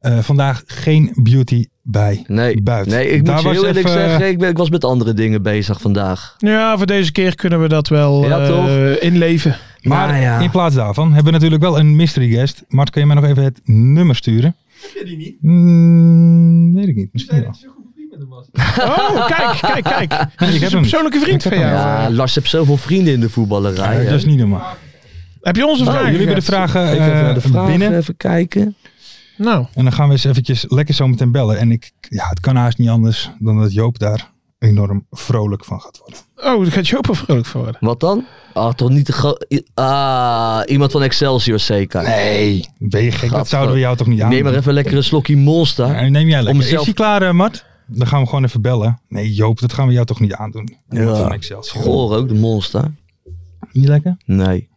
eh, vandaag geen beauty bij
Nee,
buiten.
nee ik
Daar
moet je
was
heel eerlijk
even-
zeggen, ik, ben, ik was met andere dingen bezig vandaag.
Ja, voor deze keer kunnen we dat wel
Ja,
eh,
toch?
inleven.
Maar
Nou ja.
in plaats daarvan hebben we natuurlijk wel een mystery guest. Mart, kun je mij nog even het nummer sturen? Heb je die niet? weet ik niet. Misschien wel.
Oh, kijk, kijk, kijk.
Nee, ik heb hem.
Persoonlijke vriend
Ik heb
van jou.
hem.
Ja, Lars heeft zoveel vrienden in de voetballerij.
Ja,
hè.
dat is niet normaal.
Heb je onze
Oh,
vraag?
jullie hebben de vragen
Even
eh,
naar de vraag
binnen.
even kijken.
Nou,
En dan gaan we eens eventjes lekker zo meteen bellen. En ik, ja, het kan haast niet anders dan dat Joop daar enorm vrolijk van gaat worden.
oh, daar gaat Joop er vrolijk voor worden.
Wat dan? Ah, toch niet de gro- i- Ah, iemand van Excelsior zeker.
Nee. Ben je gek? Dat
Gadver-
zouden we jou toch niet aan.
Neem maar even lekker een slokje Monster.
Ja, Eh, neem jij lekker.
Om zelf-
Is die klaar, eh, Mart? Dan gaan we gewoon even bellen. Nee, Joop, dat gaan we jou toch niet aandoen.
Ja.
Van Excelsior.
Goor ook, de Monster.
Niet lekker?
Nee.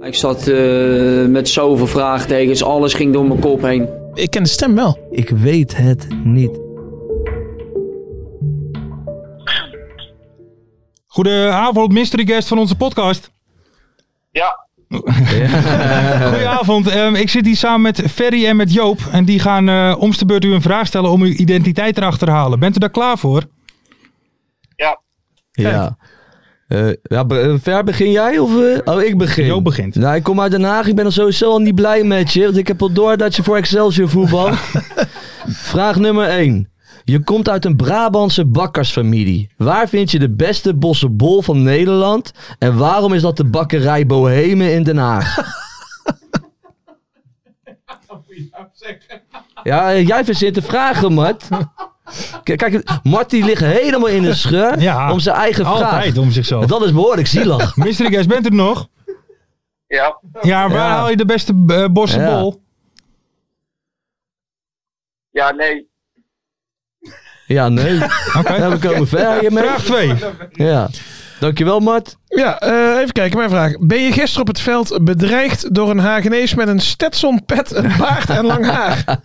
Ik zat eh, met zoveel vraagtekens, alles ging door mijn kop heen.
Ik ken de stem wel.
Ik weet het niet.
Goedenavond, mystery guest van onze podcast.
Ja,
Goedenavond, ehm, ik zit hier samen met Ferry en met Joop. En die gaan eh om de beurt u een vraag stellen om uw identiteit erachter te halen. Bent u daar klaar voor?
Ja. Eh, ja, be- eh, ver begin jij of... eh? oh, ik begin.
Joop begint.
Nou, ik kom uit Den Haag. Ik ben er sowieso al niet blij met je. Want ik heb al door dat je voor Excelsior voetbal. Vraag nummer 1. Je komt uit een Brabantse bakkersfamilie. Waar vind je de beste bossenbol van Nederland? En waarom is dat de bakkerij Bohemen in Den Haag? Ja, eh, jij verzint de vragen, Mart. K- Kijk, Mart die ligt helemaal in de scheur
Ja,
om zijn eigen vraag.
Altijd om
En
zichzelf.
dat is behoorlijk zielig.
Mystery Guest, bent u er nog?
Ja,
Ja, waar
Ja.
haal je de beste eh, bossenbol?
ja, nee.
Ja, nee.
Oké.
Ja, we komen ver hiermee.
Vraag 2.
Ja. Dankjewel, Mart.
Ja, eh, even kijken, mijn vraag. Ben je gisteren op het veld bedreigd door een Hagenees met een Stetson pet, een baard en lang haar?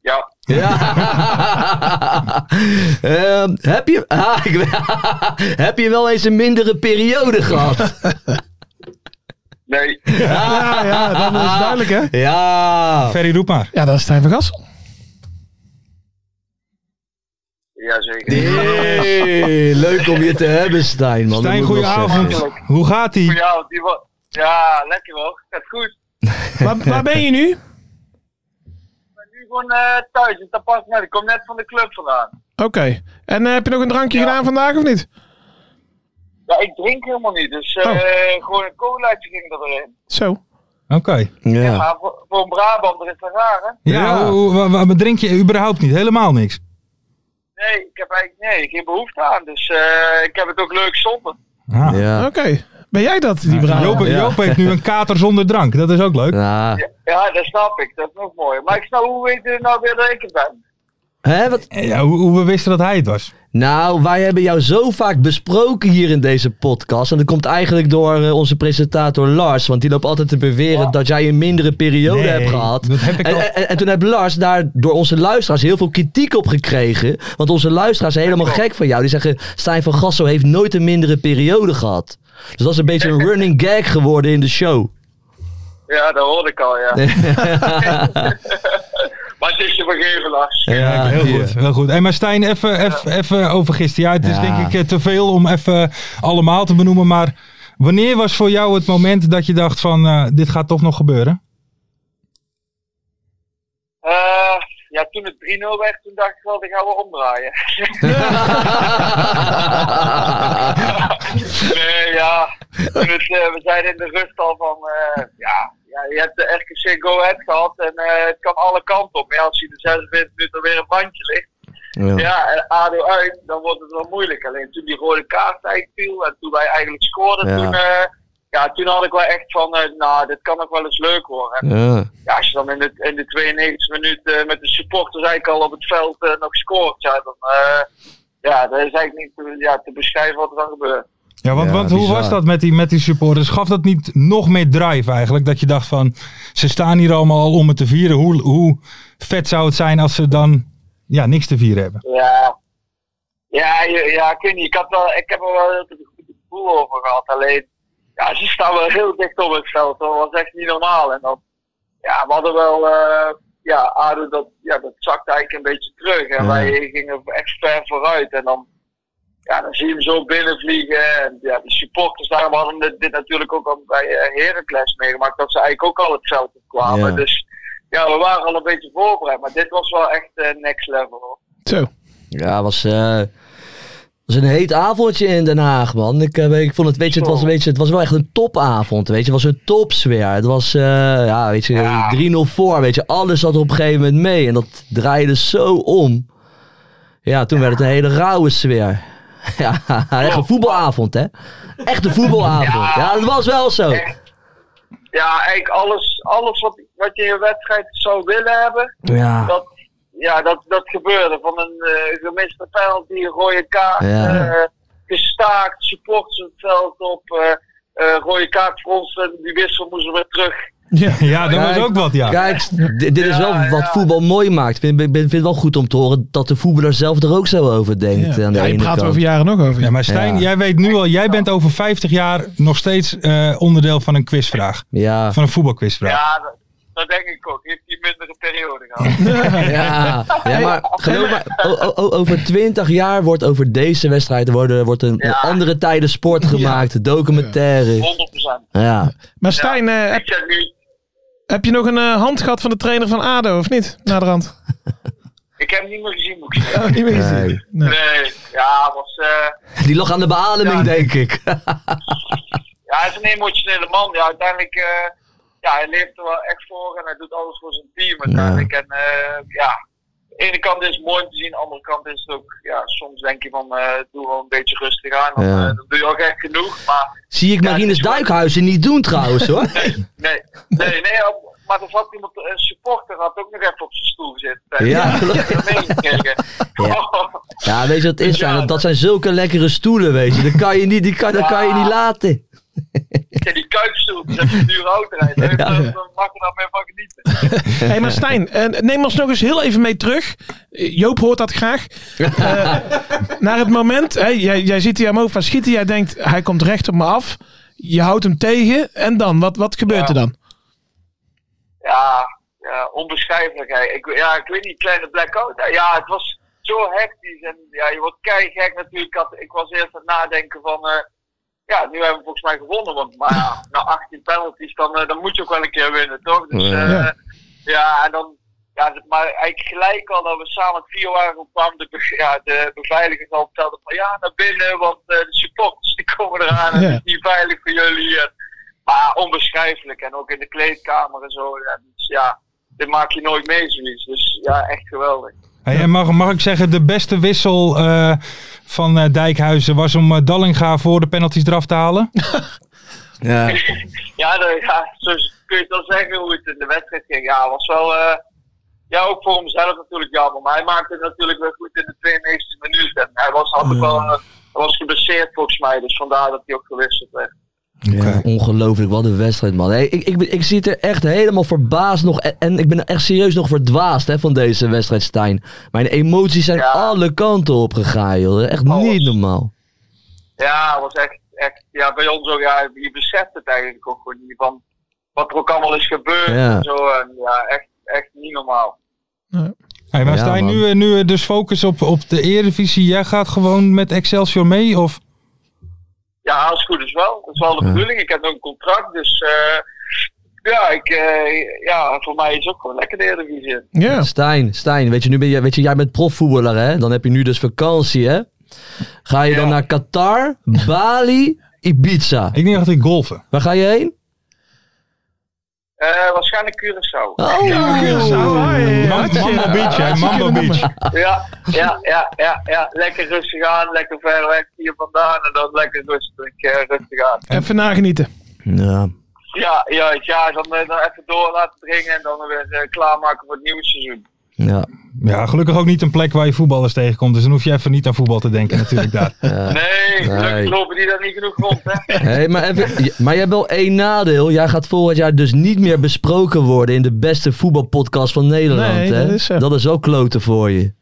Ja,
Ja. Ehm, heb, je, ah, ik, heb je wel eens een mindere periode gehad?
nee.
Ja, ja, dat is duidelijk hè.
Ja.
Ferry, roep maar.
Ja, dat is Stijn van Gassel.
Jazeker.
Hey, leuk om je te hebben, Stijn. Man. Dat
Stijn,
moet ik wel
goedenavond.
zeggen.
Hoe gaat ie?
Ja, die wa- ja, lekker hoor. Gaat goed.
Waar, waar ben je nu?
Ik ben nu gewoon eh, thuis in Tapasnet. Ik kom net van de club vandaan.
Oké. En eh, heb je nog een drankje
Ja.
gedaan vandaag of niet?
Ja, ik drink helemaal niet. Dus eh, gewoon een colaatje ging er erin.
Zo.
Oké.
Ja.
Maar voor, voor een Brabander is dat raar, hè?
Ja,
Ja.
hoe- hoe- wa- wa- drink je überhaupt niet? Helemaal niks.
Nee, ik heb eigenlijk nee, geen behoefte aan. Dus eh, ik heb het ook leuk zonder.
Ah.
Ja.
Oké. Ben jij dat, die
Nou,
braaf?
Joop, Joop heeft nu een kater zonder drank. Dat is ook leuk.
Ja.
Ja, dat snap ik. Dat is nog mooi. Maar ik snap, hoe weet je nou weer dat ik het ben?
Hè, wat?
Ja, hoe, hoe we wisten dat hij het was.
Nou, wij hebben jou zo vaak besproken hier in deze podcast. En dat komt eigenlijk door eh, onze presentator Lars. Want die loopt altijd te beweren dat jij een mindere periode
Oh. Nee,
hebt gehad.
dat heb ik al-
en, en, en toen heeft Lars daar door onze luisteraars heel veel kritiek op gekregen. Want onze luisteraars zijn helemaal gek van jou. Die zeggen, Stijn van Gassel heeft nooit een mindere periode gehad. Dus dat is een beetje een running gag geworden in de show.
Ja, dat hoorde ik al, ja. maar het is je vergeven, Lars.
Ja,
heel goed. Heel goed. Hey, maar Stijn, even, even, even over gisteren. Ja, het is
Ja.
denk ik eh, te veel om even allemaal te benoemen. Maar wanneer was voor jou het moment dat je dacht van eh, dit gaat toch nog gebeuren?
Eh, ja, toen het 3-0 werd, toen dacht ik wel, die gaan we omdraaien. nee, ja. Toen het, eh, we zeiden in de rust al van, eh, ja, ja, je hebt de RKC Go Ahead gehad en eh, het kan alle kanten op. Maar ja, als je de 46 minuten weer een bandje ligt,
Ja.
ja, en ADO uit, dan wordt het wel moeilijk. Alleen toen die rode kaart eigenlijk viel en toen wij eigenlijk scoorden,
Ja.
toen, eh, ja, toen had ik wel echt van, eh, nou, dit kan nog wel eens leuk worden. En
Ja.
ja, als je dan in de, in de 92 minuut eh, met de supporters eigenlijk al op het veld eh, nog scoort, ja, dan, eh, ja, dat is eigenlijk niet te, ja, te beschrijven wat er dan gebeurt.
Ja, want,
Ja,
want hoe
bizar.
was dat met die, met die supporters? Gaf dat niet nog meer drive eigenlijk? Dat je dacht van, ze staan hier allemaal al om het te vieren. Hoe, hoe vet zou het zijn als ze dan ja, niks te vieren hebben?
Ja, ja, je- ja ik weet niet, ik, had wel, ik heb er wel heel veel goed gevoel over gehad. Alleen, ja, ze staan wel heel dicht op het veld, hoor. dat was echt niet normaal. En dan, ja, we hadden wel, eh, ja, ADO, dat, ja, dat zakte eigenlijk een beetje terug. En
Ja.
wij gingen echt ver vooruit. En dan, ja, dan zie je hem zo binnenvliegen. En ja, de supporters, daarom hadden we dit natuurlijk ook al bij eh, Heracles meegemaakt, dat ze eigenlijk ook al het veld op kwamen.
Ja.
Dus ja, we waren al een beetje voorbereid, maar dit was wel echt eh, next level. Hoor.
Zo.
Ja, was, eh, was een heet avondje in Den Haag, man. Ik, eh, ik vond het, weet je, het was, weet je, het was wel echt een topavond, weet je. Het was een topsfeer. Het was, eh, ja, weet je, 3-0 voor, weet je. Alles zat er op een gegeven moment mee en dat draaide zo om. Ja, toen werd het een hele rauwe sfeer. Ja, echt een voetbalavond, hè. Echt een voetbalavond. Ja, dat was wel zo.
Ja, eigenlijk alles, alles wat, wat je in een wedstrijd zou willen hebben,
Ja,
dat, ja, dat, dat gebeurde. Van een eh, gemiste penalty, een rode kaart,
Ja.
eh, gestaakt, supporters het veld op, eh, eh, rode kaart voor ons en die wissel moesten weer terug.
Ja, dat was ook wat, ja.
Kijk, s- dit, dit is wel wat voetbal mooi maakt. Ik vind, ik vind het wel goed om te horen dat de voetballer zelf er ook zo over denkt. Aan de
Ja, je
ene
praat er
kant.
over jaren nog over.
Ja, maar Stijn,
Ja.
jij weet nu al, jij bent over 50 jaar nog steeds eh, onderdeel van een quizvraag.
Ja.
Van een voetbalquizvraag.
Ja, dat, dat denk ik ook. Heeft die mindere periode gehad.
Ja, ja maar geloof me, o- o- o- over 20 jaar wordt over deze wedstrijd worden, wordt een een andere tijden sport gemaakt, documentaire.
100%.
Ja.
Maar Stijn, eh, heb,
Ik zeg nu,
heb je nog een eh, hand gehad van de trainer van ADO, of niet? Naderhand.
ik heb hem niet meer gezien, moet ik zeggen.
Oh, niet meer gezien.
Nee.
Nee, ja, was, eh,
Die lag aan de beademing, denk ik.
ja, hij is een emotionele man. Ja, uiteindelijk, eh, ja, hij leeft er wel echt voor en hij doet alles voor zijn team uiteindelijk. En eh, ja, de ene kant is het mooi om te zien, de andere kant is het ook, ja, soms denk je van, eh, doe wel een beetje rustig aan. Dan,
Ja.
eh, dan doe je ook echt genoeg, maar
Zie ik Marines Duikhuizen niet doen trouwens hoor.
nee, nee, nee. op- Maar er zat iemand, een supporter had ook nog even op zijn stoel gezeten.
Ja,
Ik heb
geloof-
hem meegekregen.
ja weet je wat het is? Stijn? Dat, dat zijn zulke lekkere stoelen, weet je. Dat kan je niet, die kan, dat kan je niet laten.
Ja, die kuipstoel, dat is een dure autorijden. Daar mag je dan mee van genieten.
Hey, maar Stijn, eh, neem ons nog eens heel even mee terug. Eh, Joop hoort dat graag. Eh, naar het moment, hè, jij, jij ziet die omhoog van schieten. Jij denkt, hij komt recht op me af. Je houdt hem tegen. En dan, wat, wat gebeurt er dan?
Ja, ja onbeschrijfelijkheid. Ik, ja, ik weet niet, kleine blackout. Ja, het was zo hectisch. En ja, je wordt keihard natuurlijk. Ik, had, ik was eerst aan het nadenken van... eh, ja, nu hebben we volgens mij gewonnen. Want maar ja, na 18 penalties, dan, eh, dan moet je ook wel een keer winnen, toch? Dus eh,
Ja.
ja. en dan... Ja, dat- maar eigenlijk gelijk al dat we samen het vier waren kwam de, be- ja, de beveiligers al vertelden van ja, naar binnen, want eh, de supporters die komen eraan en
Ja.
het is niet veilig voor jullie. En, maar onbeschrijfelijk en ook in de kleedkamer en zo. Ja, dus ja, dit maak je nooit mee zoiets. Dus ja, echt geweldig.
Hey, en mag, mag ik zeggen, de beste wissel eh, van eh, Dijkhuizen was om eh, Dallinga voor de penalties eraf te halen?
Ja.
Ja, dat, ja, zo kun je het wel zeggen hoe het in de wedstrijd ging. Ja, was wel. eh, ja, ook voor hemzelf natuurlijk jammer. Maar hij maakte het natuurlijk weer goed in de 92 minuut. En hij was, had ook wel, eh, hij was geblesseerd volgens mij. Dus vandaar dat hij ook gewisseld werd.
Ja, ongelooflijk, wat een wedstrijd, man. Hey, ik, ik, ben- ik zit er echt helemaal verbaasd nog. En, en ik ben echt serieus nog verdwaasd hè, van deze wedstrijd, Stijn. Mijn emoties zijn
Ja.
alle kanten opgegaan, joh. Echt
Alles.
niet normaal.
Ja, het was echt, echt ja, bij ons ook, ja, je beseft het eigenlijk ook gewoon niet van wat er ook allemaal is gebeurd
Ja.
en zo. En ja, echt, echt niet normaal.
Hey, maar
Ja,
Stijn,
man.
nu, eh, nu eh, dus focus op, op de Eredivisie. Jij gaat gewoon met Excelsior mee? Of?
Ja, als het goed is wel. Dat is wel de
Ja.
bedoeling. Ik heb nog een contract, dus eh, ja, ik, eh, ja, voor mij is het ook gewoon lekker de Eredivisie.
Ja.
Stijn, Stijn, weet je, nu ben je, weet je, jij bent profvoetballer, hè? Dan heb je nu dus vakantie, hè? Ga je dan
Ja.
naar Qatar, Bali, Ibiza?
Ik denk dat ik golfen.
Waar ga je heen?
Eh, waarschijnlijk Curaçao.
Ah.
Oh,
Mam- Mambo Beach, hè? Mambo Beach.
Ja, ja, ja, ja, ja. Lekker rustig aan, lekker ver weg hier vandaan en dan lekker rustig, eh, rustig aan.
Even nagenieten.
Ja.
Ja, ja, ja, dan, eh, dan even door laten dringen en dan weer eh, klaarmaken voor het nieuwe seizoen.
Ja.
Ja, gelukkig ook niet een plek waar je voetballers tegenkomt. Dus dan hoef je even niet aan voetbal te denken natuurlijk daar.
Nee, gelukkig
Nee.
lopen die daar niet genoeg rond, hè?
Hey, maar, even, j- maar je hebt wel één nadeel. Jij gaat volgend jaar dus niet meer besproken worden in de beste voetbalpodcast van Nederland.
Nee,
hè?
dat is zo.
dat is ook kloten voor je.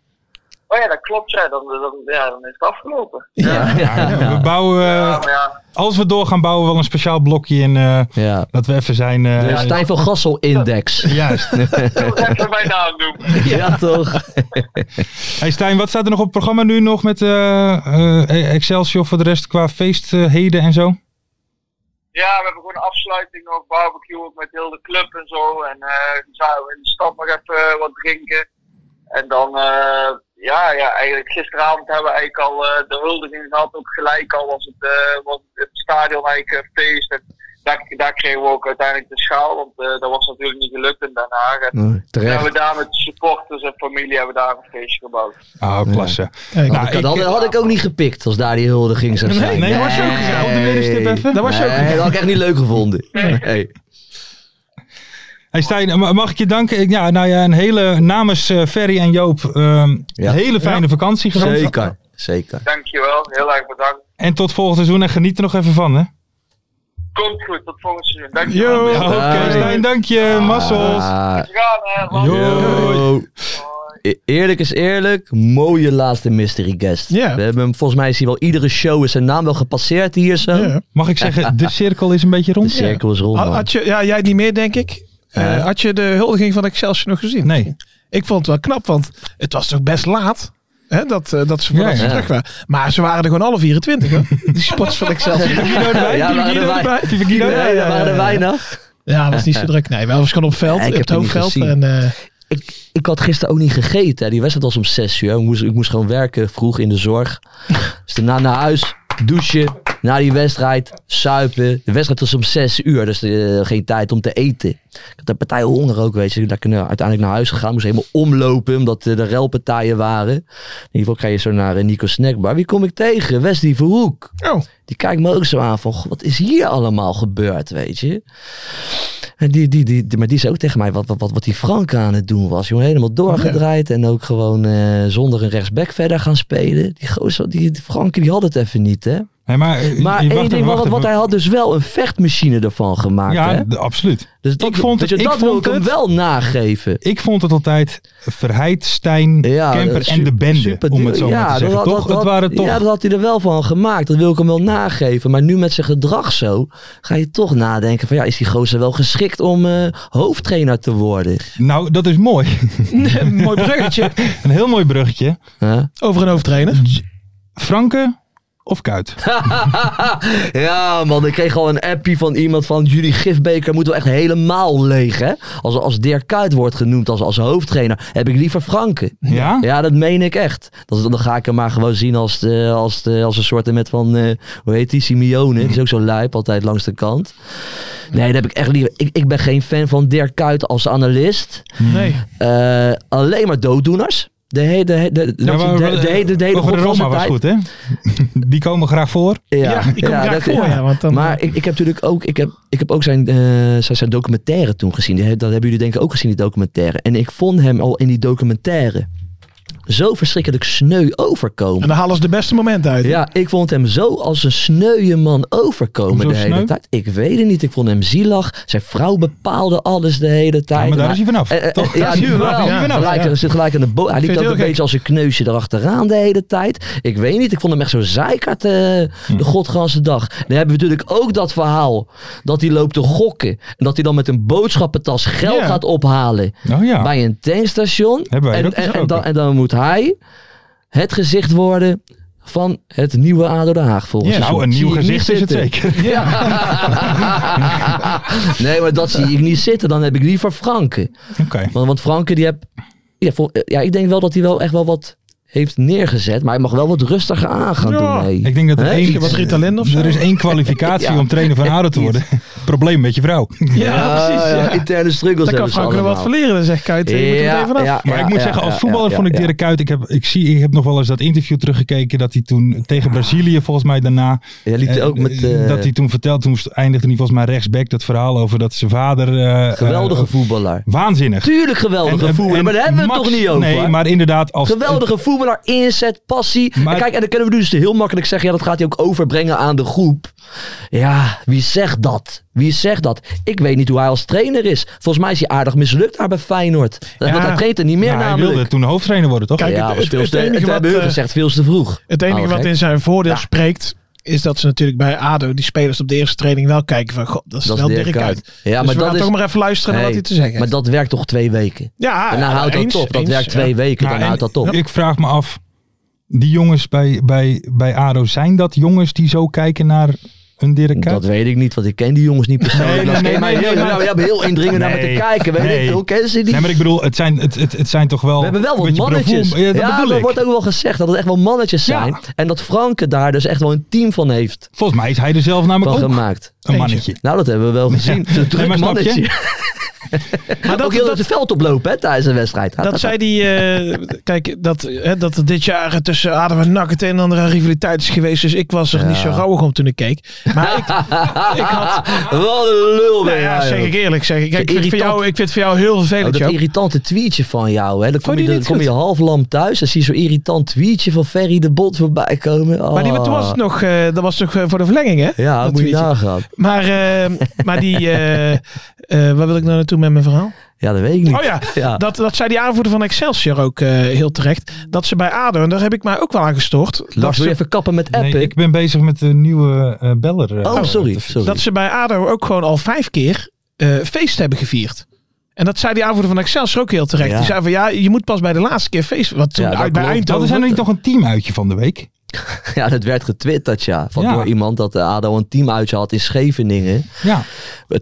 Oh ja, dat klopt, ja. Dan, dan, ja, dan is het afgelopen.
Ja, ja.
We bouwen, eh,
Ja, maar ja,
als we doorgaan, bouwen we wel een speciaal blokje in. eh, dat we even zijn... eh,
De Stijn van Gassel index.
Juist.
ik wil even mijn naam noemen.
Ja, toch?
Hey Stijn, wat staat er nog op het programma nu nog met eh, eh, Excelsior voor de rest qua feestheden en zo?
Ja, we hebben gewoon een afsluiting nog, barbecue ook met heel de club en zo. En eh zouden we in de stad nog even eh, wat drinken. En dan, eh, ja, ja, eigenlijk gisteravond hebben we eigenlijk al eh, de huldiging gehad. Ook gelijk al was het, eh, was het stadion eigenlijk eh, feest. En daar, daar kregen we ook uiteindelijk de schaal, want eh, dat was natuurlijk niet gelukt in Den Haag. En
Nee,
Toen hebben
Mm, Terecht.
we daar met supporters en familie hebben we daar een feestje gebouwd.
Oh, klasse.
Kijk,
Nou,
Dat had, dat had ik ook niet gepikt als daar die huldiging zou zijn.
nee, was je ook gezellig. Op de middenstip even.
Dat
was je ook
Nee, dat had ik echt niet leuk gevonden. Nee.
Hey Stijn, ma- mag ik je danken? Ik- Ja, nou ja, een hele, namens eh, Ferry en Joop, ehm,
Ja.
een hele fijne vakantie gewenst.
Zeker, zeker.
Dankjewel, heel erg bedankt.
En tot volgend seizoen en geniet er nog even van, hè?
Komt goed, tot volgend seizoen. Dankjewel.
Yo, oké. Stijn, dank je. Massels.
Ah.
Gaan,
Yo. E- Eerlijk is eerlijk, mooie laatste mystery guest.
Ja.
We hebben hem, volgens mij is hij wel iedere show is zijn naam wel gepasseerd hier zo.
Ja.
Mag ik zeggen, de cirkel is een beetje
De
rond?
cirkel is rond.
Had,
man.
had je, ja, Ah, jij niet meer, denk ik. Eh,
Ja.
had je de huldiging van Excelsior nog gezien?
Nee.
Ik vond het wel knap, want het was toch best laat hè, dat, eh, dat ze voordat
Ja,
ze
ja.
terug waren. Maar ze waren er gewoon alle 24, hoor. Die spots van Excelsior.
Ja, waren er wij-
Guido?
Nee,
ah, Ja, ja,
daar waren er
ja.
weinig.
Ja, was niet zo druk. Nee, wel was gewoon op veld,
Ja, ik
op
heb
het
het niet
hoofdveld.
gezien.
En, eh,
Ik, ik had gisteren ook niet gegeten. Hè. Die wedstrijd was om 6 uur. Ik moest, ik moest gewoon werken vroeg in de zorg. dus daarna naar huis, douchen, na die wedstrijd, suipen. De wedstrijd was om 6 uur, dus eh, geen tijd om te eten. Ik had een partij honger ook, weet je. Dus Ik ben uiteindelijk naar huis gegaan. Moest helemaal omlopen, omdat eh, er relpartijen waren. In ieder geval ga je zo naar eh, Nico Snackbar. Wie kom ik tegen? Wesley Verhoek.
oh,
Die kijkt me ook zo aan van, "Goh, wat is hier allemaal gebeurd, weet je? En die, die, die, die- maar die zei ook tegen mij wat, wat, wat, wat die Frank aan het doen was. Jongen, helemaal doorgedraaid en ook gewoon eh, zonder een rechtsback verder gaan spelen. Die, gozer, die, die Frank die had het even niet, hè?
Nee, maar eh,
Maar
je-
één
wacht
ding,
even,
wat,
wacht
wat
even.
hij had dus wel een vechtmachine ervan gemaakt, hè?
Ja, d- absoluut.
Dus
ik vond
weet
het-
je,
ik
dat wil
vond
ik hem
het-
wel nageven.
Ik vond het altijd Verheid, Stijn,
Ja,
Kemper
dat-
en de bende,
super-
om het zo
ja,
maar te
dat-
zeggen.
dat-
toch?
dat-
het waren toch...
Ja, dat had hij er wel van gemaakt. Dat wil ik hem wel nageven. Maar nu met zijn gedrag zo, ga je toch nadenken van ja, is die gozer wel geschikt om eh, hoofdtrainer te worden?
Nou, dat is mooi.
mooi bruggetje.
Een heel mooi bruggetje.
Huh?
Over een hoofdtrainer.
Franke of Kuit?
ja man, ik kreeg al een appie van iemand van jullie gifbeker moet wel echt helemaal leeg hè. Als, als Dirk Kuyt wordt genoemd als, als hoofdtrainer, heb ik liever Franken.
Ja?
Ja, dat meen ik echt. Dat, is- dan ga ik hem maar gewoon zien als, de, als, de, als een soort met van, eh, hoe heet die, Simeone. Die is ook zo lijp, altijd langs de kant. Nee, dat heb ik echt liever. Ik, ik ben geen fan van Dirk Kuyt als analist.
Nee.
Eh, alleen maar dooddoeners. De hele de, he- de, de,
Ja, maar-
de, de, he- de, de hele
Over de
god van
Roma
zijn
was
tijd.
goed, hè? Die komen graag voor.
Ja, die komt graag
dat-
voor. Ja, want dan, eh,
maar ik, ik heb natuurlijk ook, ik heb, ik heb ook zijn, eh, zijn, zijn documentaire toen gezien. Die he- Dat hebben jullie denk ik ook gezien, die documentaire. En ik vond hem al in die documentaire zo verschrikkelijk sneu overkomen.
eh, en dan halen ze de beste momenten uit.
Ja, ik vond hem zo als een sneuwe man overkomen
Hoezo
de hele
sneu?
tijd. Ik weet het niet. Ik vond hem zielig. Zijn vrouw bepaalde alles de hele tijd.
Ja, maar daar is hij vanaf.
Eh, eh,
Toch?
eh,
Daar
Ja,
is hij
nu
vanaf,
wel.
daar is hij vanaf,
Gelijk,
ja.
er zit gelijk aan de bo- Hij
Vind
liep
je
ook
het heel
een
gek?
beetje als een kneusje erachteraan de hele tijd. Ik weet niet. Ik vond hem echt zo'n zeikert eh,
Hm.
de godganse dag. Dan hebben we natuurlijk ook dat verhaal dat hij loopt te gokken. En dat hij dan met een boodschappentas geld
Ja.
gaat ophalen
Nou ja.
bij een tankstation.
Hebben wij
en,
er ook
en, en,
gesproken.
dan, en dan moet hij het gezicht worden van het nieuwe ADO Den Haag volgens
Ja, nou, een nieuw gezicht is het zeker.
nee, maar dat zie ik niet zitten. Dan heb ik liever Franke.
Oké.
Want, want Franke die heb... Ja, vol- eh, ja, ik denk wel dat hij wel echt wel wat heeft neergezet. Maar hij mag wel wat rustiger aan gaan
Ja,
doen. mee.
Ik denk dat er
Hè?
één...
Wat Ritalin of zo?
Er is één kwalificatie
Ja.
om trainer van ADO te worden. Probleem met je vrouw.
Ja, precies.
ja,
Ja.
Interne struggles
Daar kan
hebben ze
Frank nog wat
allemaal.
verleren, dan zegt Kuyt. eh, Je moet er even vanaf.
Maar ik moet
ja,
zeggen, als
ja,
voetballer
ja,
vond ik
ja.
Dirk Kuyt... Ik heb, ik, zie, ik heb nog wel eens dat interview teruggekeken... dat hij toen tegen Brazilië volgens mij daarna...
Ja, liet Ah. hij
eh,
ook met, eh,
dat hij toen vertelde, toen eindigde hij volgens mij rechtsback... dat verhaal over dat zijn vader... eh,
Geweldige
eh,
voetballer.
waanzinnig.
Tuurlijk geweldige
En- en-
voetballer.
en
Maar daar hebben we het
Max-
toch niet over.
Nee, maar inderdaad... Als,
Geweldige voetballer, inzet, passie.
Maar-
en kijk, en dan kunnen we dus heel makkelijk zeggen: ja, dat gaat hij ook overbrengen aan de groep. Ja, wie zegt dat? Wie zegt dat? Ik weet niet hoe hij als trainer is. Volgens mij is hij aardig mislukt daar bij Feyenoord.
Ja.
Want hij traint er niet meer
Nou, hij
namelijk.
wilde toen hoofdtrainer worden, toch?
Kijk,
ja,
het-
was
het-
veel
het
te,
enige
het
wat,
hebben hun
eh,
gezegd, veel te vroeg.
Het enige wat in zijn voordeel spreekt, is dat ze natuurlijk bij ADO, die spelers op de eerste training wel kijken van, god, dat is
Dat is
wel
Dirk
Dirk
Kuyt.
uit.
Ja,
dus
maar
we
dat
gaan
is-
toch maar even luisteren naar
Nee,
wat hij te zeggen
Maar
heeft.
dat werkt toch twee weken?
Ja,
en dan
ja,
houdt
eens,
dat op. Dat
eens,
werkt
ja.
twee weken, dan
Nou,
houdt
en
dat op.
Ik vraag me af, die jongens bij, bij, bij ADO, zijn dat jongens die zo kijken naar een Dirk Kuyt?
Dat weet ik niet, want ik ken die jongens niet persoonlijk.
Nee,
Dat
nee,
ken
nee,
mij
nee,
heel-
nee,
nou,
maar-
we hebben heel indringend naar me
Nee,
te kijken. Weet
nee.
ik veel, kennen ze die?
Nee, maar ik bedoel, het zijn, het, het, het zijn toch wel...
We hebben
Oh,
wel
een
wat
beetje
mannetjes.
bravoer- Ja, dat bedoel
er
ik.
wordt ook wel gezegd dat het echt wel mannetjes
Ja.
zijn. En dat Franke daar dus echt wel een team van heeft
Volgens mij is hij er zelf
van
namelijk ook
gemaakt.
een mannetje.
Nou, dat hebben we wel gezien. Zo'n druk
Nee, maar snap je?
mannetje. maar ook heel dat het veld oplopen hè, tijdens een wedstrijd.
Dat zei die, eh, kijk, dat, hè, dat er dit jaar tussen Adem en Nak het een en ander aan rivaliteit is geweest. Dus ik was er niet zo rauwig om toen ik keek. Maar ik, ik had,
Wat een lul ben
nou ja,
jij,
zeg
joh.
ik eerlijk, zeg ik. Kijk, ik, vind het voor
Irritant.
jou, ik vind het voor jou heel
Oh,
vervelend,
dat
Joop.
irritante tweetje van jou. Hè. Dan kom,
Vond
je,
je
dan
niet
kom je half lam thuis. Dan zie je zo'n irritant tweetje van Ferry de Bot voorbij komen.
Maar die,
Ah.
toen was het nog, eh, dat was toch eh, voor de verlenging, hè?
Ja,
dat
moet je
tweetje.
nagaan.
Maar, eh, maar die, eh, eh, waar wil ik nou naartoe met mijn verhaal?
Ja, dat weet ik niet.
Oh ja, Dat, dat zei die aanvoerder van Excelsior ook eh, heel terecht. Dat ze bij ADO, en daar heb ik mij ook wel aan gestoord. dat
Lars, wil
ze,
je
even kappen met
Nee, ik ben bezig met de nieuwe eh, beller. eh,
Oh, sorry,
te fixen.
sorry.
dat ze bij ADO ook gewoon al vijf keer eh, feest hebben gevierd. En dat zei die aanvoerder van Excelsior ook heel terecht.
Ja.
Die zei van ja, je moet pas bij de laatste keer feest. Wat toen
Ja, dat
uit bij
klopt.
Eindhoven.
Hadden zij nog niet nog een teamuitje van de week?
Ja, dat werd getwitterd, ja. Van
Ja.
door iemand dat de ADO een team uit had in Scheveningen. eh,
Ja.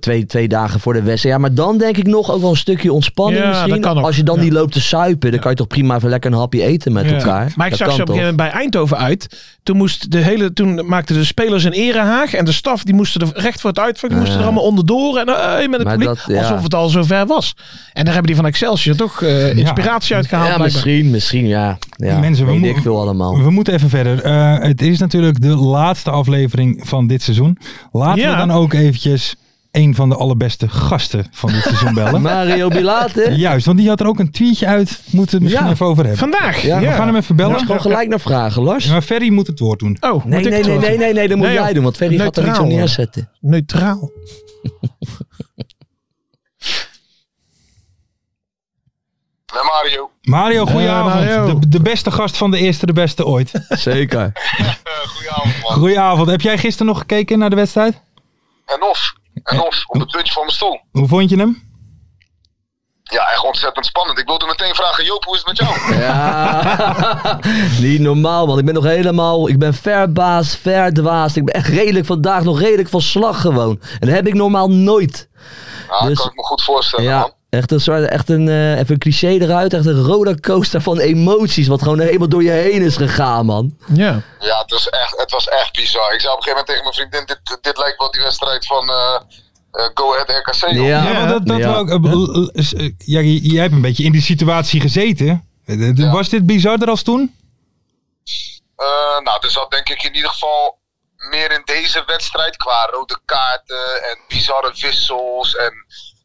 Twee, twee dagen voor de wedstrijd. Ja, maar dan denk ik nog ook wel een stukje ontspanning
Ja,
misschien.
dat kan ook.
Als je dan
Ja.
niet loopt te suipen, dan kan je toch prima even lekker een hapje eten met
Ja.
elkaar.
Maar ik
Dat
zag ze
kan
op een gegeven
toch?
moment bij Eindhoven uit. Toen, moest de hele, toen maakten de spelers een erehaag. En de staf die moesten er recht voor het uitvak. Die moesten er allemaal onderdoor. En eh, met het
Maar
publiek.
dat, ja.
Alsof het al zover was. En daar hebben die van Excelsior toch eh, inspiratie uit gehaald.
Ja,
blijkbaar.
misschien, misschien, ja. ja.
mensen, we
weet
moeten-
ik veel allemaal.
We moeten even verder. Eh, het is natuurlijk de laatste aflevering van dit seizoen. Laten
Ja.
we dan ook eventjes een van de allerbeste gasten van dit seizoen bellen.
Mario Bilate.
Juist, want die had er ook een tweetje uit. Moeten we het misschien
Ja.
even over hebben.
Vandaag.
Ja,
Ja,
we
We gaan hem even bellen.
Moet je gewoon gelijk naar vragen, Lars.
Ja, maar Ferry moet het woord doen.
Oh,
Nee,
moet ik
nee,
het wel
nee, nee,
doen?
nee, nee, dat moet
Nee,
jij
joh.
doen, want Ferry gaat er niet zo
Neutraal.
neerzetten.
Neutraal.
Met Mario.
Mario, goedenavond.
Eh, Mario.
De, de beste gast van de eerste, de beste ooit.
Zeker.
Eh, goedenavond man.
Goedenavond. Heb jij gisteren nog gekeken naar de wedstrijd?
En of.
Eh,
En of. Op het puntje van mijn stoel.
Hoe vond je hem?
Ja, echt ontzettend spannend. Ik wilde meteen vragen, Joop, hoe is het met
Eh,
jou?
Ja, niet normaal, man. Ik ben nog helemaal. Ik ben verbaasd, verdwaasd. Ik ben echt redelijk vandaag nog redelijk van slag gewoon. En dat heb ik normaal nooit.
Ja,
Dus-
Nou, kan ik me goed voorstellen
Ja,
man.
echt een, soort, echt een, eh, even een cliché eruit. Echt een rollercoaster van emoties. Wat gewoon helemaal door je heen is gegaan, man.
Ja.
Ja, het was echt, het was echt bizar. Ik zei op een gegeven moment tegen mijn vriendin, dit, dit lijkt wel die wedstrijd van eh, eh, Go Ahead RKC. joh.
Ja.
want dat, dat
Ja.
we ook, eh, l- l- s- eh, ja, j- jij hebt een beetje in die situatie gezeten. Eh, eh,
Ja.
Was dit bizarder als toen?
Eh, nou, er zat denk ik in ieder geval meer in deze wedstrijd qua rode kaarten en bizarre wissels en,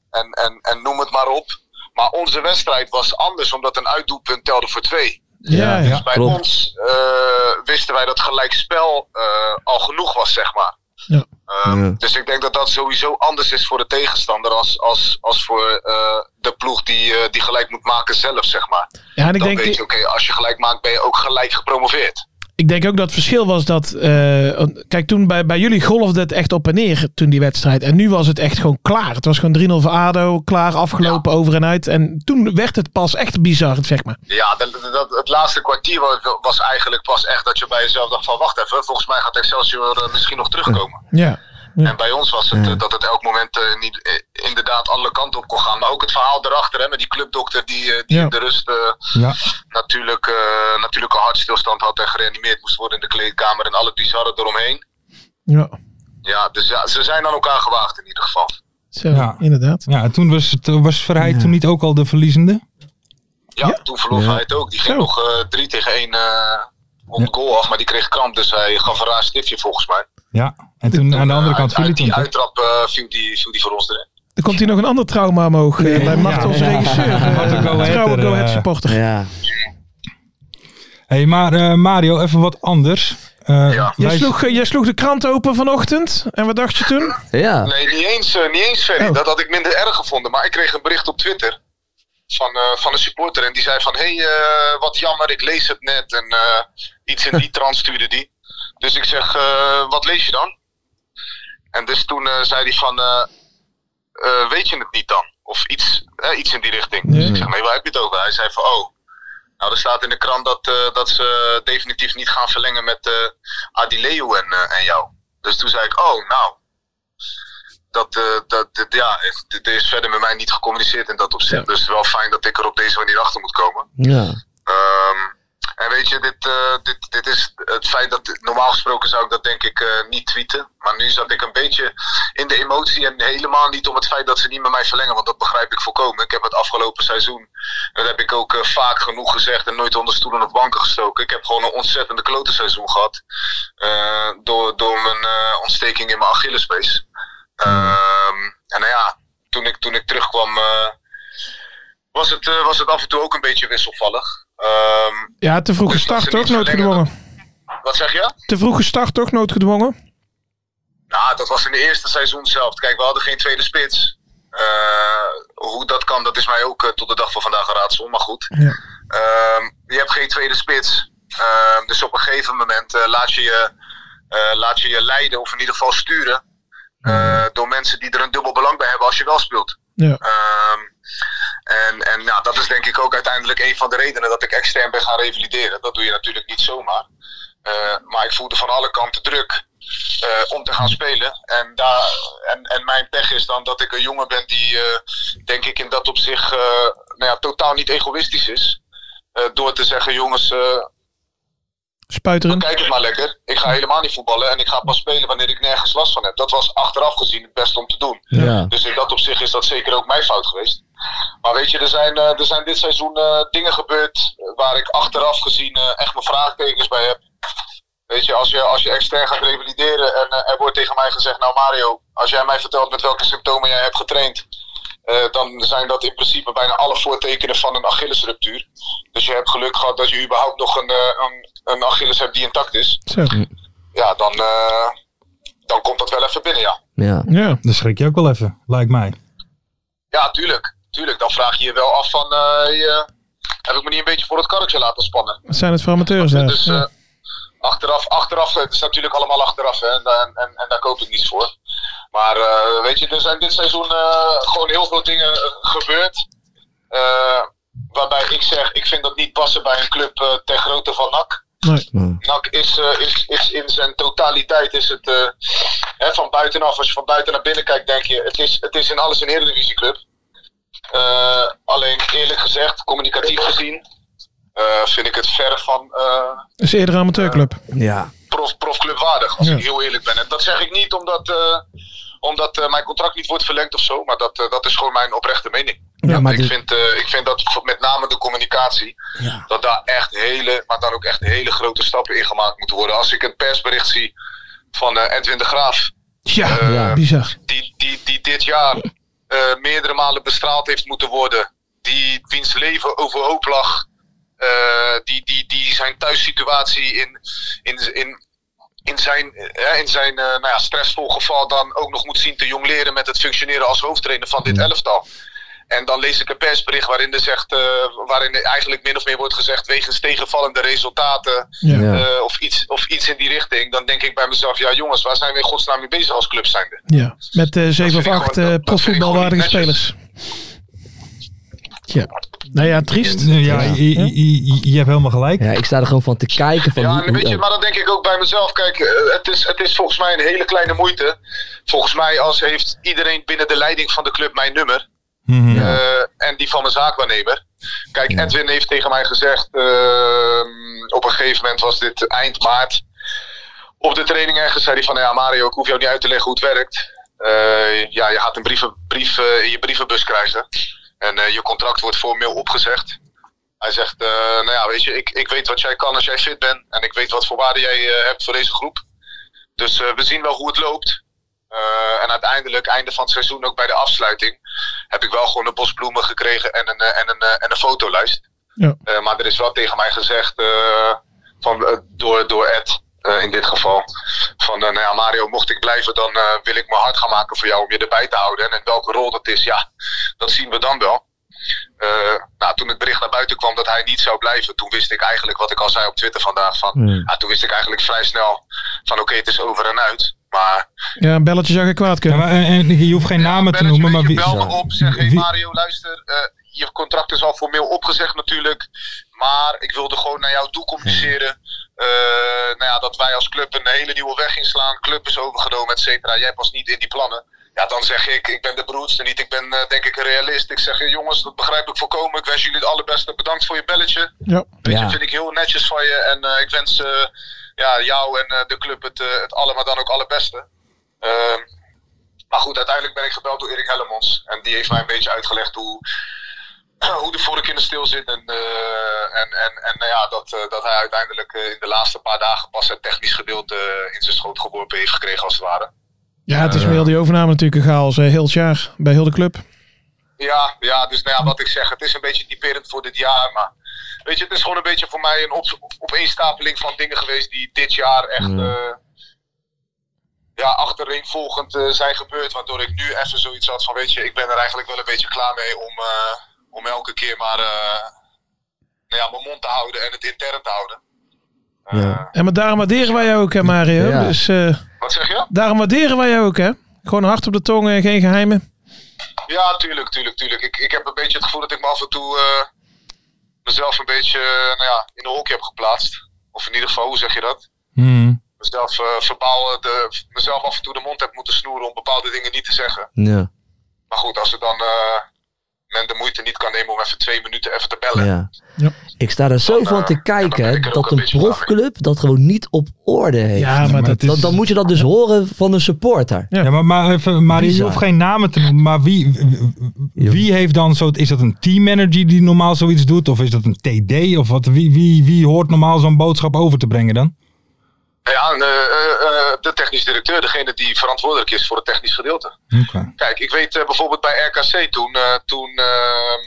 en, en, en noem het maar op. Maar onze wedstrijd was anders omdat een uitdoelpunt telde voor twee.
Ja, ja.
Dus bij
klopt.
ons eh, wisten wij dat gelijkspel eh, al genoeg was, zeg maar.
Ja.
Eh,
Ja.
Dus ik denk dat dat sowieso anders is voor de tegenstander als, als, als voor eh, de ploeg die, eh, die gelijk moet maken zelf, zeg maar.
Ja, en ik
Dan
denk,
weet je, oké, als je gelijk maakt ben je ook gelijk gepromoveerd.
ik denk ook dat het verschil was dat. eh, kijk, toen bij, bij jullie golfde het echt op en neer toen die wedstrijd. En nu was het echt gewoon klaar. Het was gewoon 3-0 voor Ado, klaar, afgelopen, over en uit. En toen werd het pas echt bizar, zeg maar.
Ja, dat, dat, het laatste kwartier wa- was eigenlijk pas echt dat je bij jezelf dacht van wacht even, volgens mij gaat Excelsior eh, misschien nog terugkomen.
Ja. Ja.
En bij ons was het eh, dat het elk moment eh, niet, eh, inderdaad alle kanten op kon gaan. Maar ook het verhaal erachter, hè, met die clubdokter die, eh, die
Ja.
in de rust eh,
Ja.
natuurlijk, eh, natuurlijk een hartstilstand had en gereanimeerd moest worden in de kleedkamer en alle bizarre eromheen.
Ja.
Ja, dus ja, ze zijn aan elkaar gewaagd in ieder geval.
Zo,
Ja.
inderdaad.
Ja, toen was, het- eh, was Verheid toen niet ook al de verliezende?
Ja,
Ja.
toen verloor
Ja.
hij het ook. Die ging
Zo.
nog eh, 3 tegen 1 eh op het goal af, maar die kreeg kramp, dus hij gaf een raar stiftje volgens mij.
Ja. En toen aan de andere
Eh,
kant viel
uit-
hij
uit
toen.
die
toch?
uittrap eh, viel, die, viel die voor ons erin.
Er komt hier nog een ander trauma omhoog eh, bij Mart,
Ja.
onze regisseur.
Ja.
eh,
Marten Go Ahead,
trouwe
eh,
Go Ahead supporter.
Ja.
hey, maar eh, Mario, even wat anders. Eh,
Ja.
Jij
wij-
sloeg, eh, jij sloeg de krant open vanochtend. En wat dacht je toen?
Ja.
Nee, niet eens, eh, niet eens Ferry.
Oh.
Dat had ik minder erg gevonden. Maar ik kreeg een bericht op Twitter van, eh, van een supporter. En die zei van, hé, hey, eh, wat jammer, ik lees het net. En eh, iets in die trant stuurde die. Dus ik zeg, eh, wat lees je dan? En dus toen eh, zei hij van, eh, eh, weet je het niet dan? Of iets, eh, iets in die richting. Dus ik zeg, nee, waar heb je het over? Hij zei van, oh... Nou, er staat in de krant dat, eh, dat ze definitief niet gaan verlengen met eh Adileu en, eh, en jou. Dus toen zei ik, oh, nou, dat, eh, dat, dit- ja, er is verder met mij niet gecommuniceerd in dat opzicht.
Ja.
Dus wel fijn dat ik er op deze manier achter moet komen.
Ja.
Ehm, en weet je, dit, eh, dit, dit is het feit dat normaal gesproken zou ik dat denk ik eh, niet tweeten. Maar nu zat ik een beetje in de emotie en helemaal niet om het feit dat ze niet met mij verlengen. Want dat begrijp ik volkomen. Ik heb het afgelopen seizoen, dat heb ik ook eh, vaak genoeg gezegd en nooit onder stoelen of banken gestoken. Ik heb gewoon een ontzettende klote seizoen gehad eh, door, door mijn eh, ontsteking in mijn Achillespees. Ehm, en nou ja, toen ik, toen ik terugkwam eh, was, het, eh, was het af en toe ook een beetje wisselvallig. Ehm,
Ja, te vroeg gestart toch, noodgedwongen.
wat zeg je?
Te vroeg gestart toch, noodgedwongen?
Nou, dat was in het eerste seizoen zelf. Kijk, we hadden geen tweede spits. Eh, hoe dat kan, dat is mij ook eh, tot de dag van vandaag een raadsel. Maar goed, Ehm, je hebt geen tweede spits. Ehm, dus op een gegeven moment eh, laat, je je, eh, laat je je leiden, of in ieder geval sturen, eh, door mensen die er een dubbel belang bij hebben als je wel speelt.
Ja.
Ehm, en en nou, dat is denk ik ook uiteindelijk een van de redenen dat ik extern ben gaan revalideren. Dat doe je natuurlijk niet zomaar. Eh, maar ik voelde van alle kanten druk eh, om te gaan spelen. En, daar, en, en mijn pech is dan dat ik een jongen ben die, eh, denk ik, in dat opzicht eh, nou ja, totaal niet egoïstisch is. Eh, door te zeggen, jongens, eh,
Spuiteren.
Kijk het maar lekker. Ik ga helemaal niet voetballen en ik ga pas spelen wanneer ik nergens last van heb. Dat was achteraf gezien het beste om te doen.
Ja.
Dus in dat opzicht is dat zeker ook mijn fout geweest. Maar weet je, er zijn, eh, er zijn dit seizoen eh, dingen gebeurd eh, waar ik achteraf gezien eh, echt mijn vraagtekens bij heb. Weet je, als je, als je extern gaat revalideren en eh, er wordt tegen mij gezegd, nou Mario, als jij mij vertelt met welke symptomen jij hebt getraind, eh, dan zijn dat in principe bijna alle voortekenen van een Achillesruptuur. Dus je hebt geluk gehad dat je überhaupt nog een, eh, een, een Achilles hebt die intact is. Ja, dan, eh, dan komt dat wel even binnen, ja.
Ja.
ja. Dan schrik je ook wel even, lijkt mij.
Ja, tuurlijk. Tuurlijk, dan vraag je je wel af van... eh, je- heb ik me niet een beetje voor het karretje laten spannen?
Wat zijn het voor amateurs daar?
Dus eh,
Ja.
achteraf, achteraf, het is natuurlijk allemaal achteraf hè, en, daar- en, en daar koop ik niets voor. Maar eh, weet je, er zijn dit seizoen eh, gewoon heel veel dingen eh, gebeurd. eh, waarbij ik zeg, ik vind dat niet passen bij een club eh, ter grootte van NAC. NAC is, eh, is, is in zijn totaliteit, is het, eh, hè, van buitenaf, als je van buiten naar binnen kijkt, denk je, het is, het is in alles een Eredivisieclub. Eh alleen eerlijk gezegd, communicatief gezien, eh, vind ik het ver van eh,
Dat is eerder een amateurclub.
Ja.
prof, profclub waardig, als
Ja.
ik heel eerlijk ben. En dat zeg ik niet omdat, eh, omdat eh, mijn contract niet wordt verlengd of zo, maar dat, eh, dat is gewoon mijn oprechte mening.
Ja, maar
ik,
dit-
vind, eh, ik vind dat voor- met name de communicatie, dat daar echt hele, maar dan ook echt hele grote stappen in gemaakt moeten worden. Als ik een persbericht zie van eh Edwin de Graaf,
Ja,
Eh,
bizar.
die, die dit jaar eh, meerdere malen bestraald heeft moeten worden. Die wiens leven overhoop lag. Eh, die, die, die zijn thuissituatie in, in, in, in zijn, eh, in zijn eh, nou ja, stressvol geval dan ook nog moet zien te jong leren met het functioneren als hoofdtrainer van dit elftal. En dan lees ik een persbericht waarin, er zegt, eh, waarin er eigenlijk min of meer wordt gezegd wegens tegenvallende resultaten
Ja.
eh, of, iets, of iets in die richting. Dan denk ik bij mezelf, ja jongens, waar zijn we in godsnaam mee bezig als club zijnde?
Ja. Met eh zeven of acht eh profvoetbalwaardige spelers. Ja. Nou ja, triest.
Eh, Ja, je, je- je- je hebt helemaal gelijk.
Ja, ik sta er gewoon van te kijken. Van
Ja,
hoe- oh.
en weet je,
hoe-
maar dan denk ik ook bij mezelf. Kijk, eh, het is, het is volgens mij een hele kleine moeite. Volgens mij als heeft iedereen binnen de leiding van de club mijn nummer.
Mhm.
Eh, en die van mijn zaakwaarnemer. Kijk, Edwin heeft tegen mij gezegd, ehm, op een gegeven moment was dit eind maart. Op de training ergens zei hij van, ja Mario, ik hoef jou niet uit te leggen hoe het werkt. Eh, ja, je gaat een brieven, brief eh, in je brievenbus krijgen. En eh, je contract wordt formeel opgezegd. Hij zegt, eh, nou ja, weet je, ik, ik weet wat jij kan als jij fit bent. En ik weet wat voor waarde jij eh, hebt voor deze groep. Dus eh, we zien wel hoe het loopt. Eh, en uiteindelijk, einde van het seizoen, ook bij de afsluiting, heb ik wel gewoon een bos bloemen gekregen en een, eh, en een, eh, en een fotolijst.
Ja.
Eh, maar er is wel tegen mij gezegd, eh, van, eh, door, door Ed eh, in dit geval, van eh, nou ja, Mario, mocht ik blijven, dan eh, wil ik me hard gaan maken voor jou om je erbij te houden. En in welke rol dat is, ja, dat zien we dan wel. Eh, nou, toen het bericht naar buiten kwam dat hij niet zou blijven, toen wist ik eigenlijk wat ik al zei op Twitter vandaag. Van,
Hmm.
ah, toen wist ik eigenlijk vrij snel van oké, het is over en uit. Maar
Ja, een belletje zou je kwaad kunnen.
Ja, maar, eh, en je hoeft geen namen te noemen, maar wie...
bel me op, zeg hey
wie-
Mario, luister, eh, je contract is al formeel opgezegd natuurlijk. Maar ik wilde gewoon naar jou toe communiceren. eh, nou ja, dat wij als club een hele nieuwe weg inslaan. Club is overgenomen, et cetera. Jij past niet in die plannen. Ja, dan zeg ik, ik ben de broedste niet. Ik ben eh, denk ik een realist. Ik zeg, eh, jongens, dat begrijp ik voorkomen. Ik wens jullie het allerbeste. Bedankt voor je belletje.
Ja.
Weet je, vind ik heel netjes van je. En eh, ik wens eh, ja, jou en eh, de club het, eh, het alle, maar dan ook allerbeste. Ehm, maar goed, uiteindelijk ben ik gebeld door Erik Hellemons. En die heeft mij een beetje uitgelegd hoe, hoe de vork in de steel zit. En, eh, en, en, en nou ja, dat, eh, dat hij uiteindelijk eh, in de laatste paar dagen pas het technisch gedeelte eh, in zijn schoot geworpen heeft gekregen, als het ware.
Ja, het is met heel die overname natuurlijk een chaos. eh, heel het jaar bij heel de club.
Ja, ja, dus nou ja, wat ik zeg, het is een beetje typerend voor dit jaar. Maar weet je, het is gewoon een beetje voor mij een op, opeenstapeling van dingen geweest die dit jaar echt. eh, ja, achtereenvolgend eh, zijn gebeurd. Waardoor ik nu even zoiets had van, weet je, ik ben er eigenlijk wel een beetje klaar mee om, eh, om elke keer maar eh, nou ja, mijn mond te houden en het intern te houden.
Ja. En maar daarom waarderen wij jou ook, hè, Mario.
Ja.
Dus, eh,
Wat zeg je?
Daarom waarderen wij jou ook, hè? Gewoon hard op de tong en geen geheimen.
Ja, tuurlijk, tuurlijk, tuurlijk. Ik, ik heb een beetje het gevoel dat ik me af en toe eh, mezelf een beetje eh, nou ja, in een hokje heb geplaatst. Of in ieder geval, hoe zeg je dat?
Mhm.
Mezelf, eh, verbaal, eh, de, mezelf af en toe de mond heb moeten snoeren om bepaalde dingen niet te zeggen.
Ja.
Maar goed, als er dan eh, men de moeite niet kan nemen om even twee minuten even te bellen.
Ja. Ik sta er zo van te kijken hè, dat een profclub dat gewoon niet op orde heeft.
Ja, maar dat is-
dan, dan moet je dat dus horen van een supporter.
Ja, maar, maar even, Mario, je
Bizar.
hoeft geen namen te noemen, maar wie, wie heeft dan zo, is dat een teammanager die normaal zoiets doet? Of is dat een TD? Of wat, wie, wie, wie hoort normaal zo'n boodschap over te brengen dan?
Nou Ja, en, eh, eh, eh, de technisch directeur, degene die verantwoordelijk is voor het technisch gedeelte. Kijk, ik weet eh, bijvoorbeeld bij RKC toen, eh, toen ehm,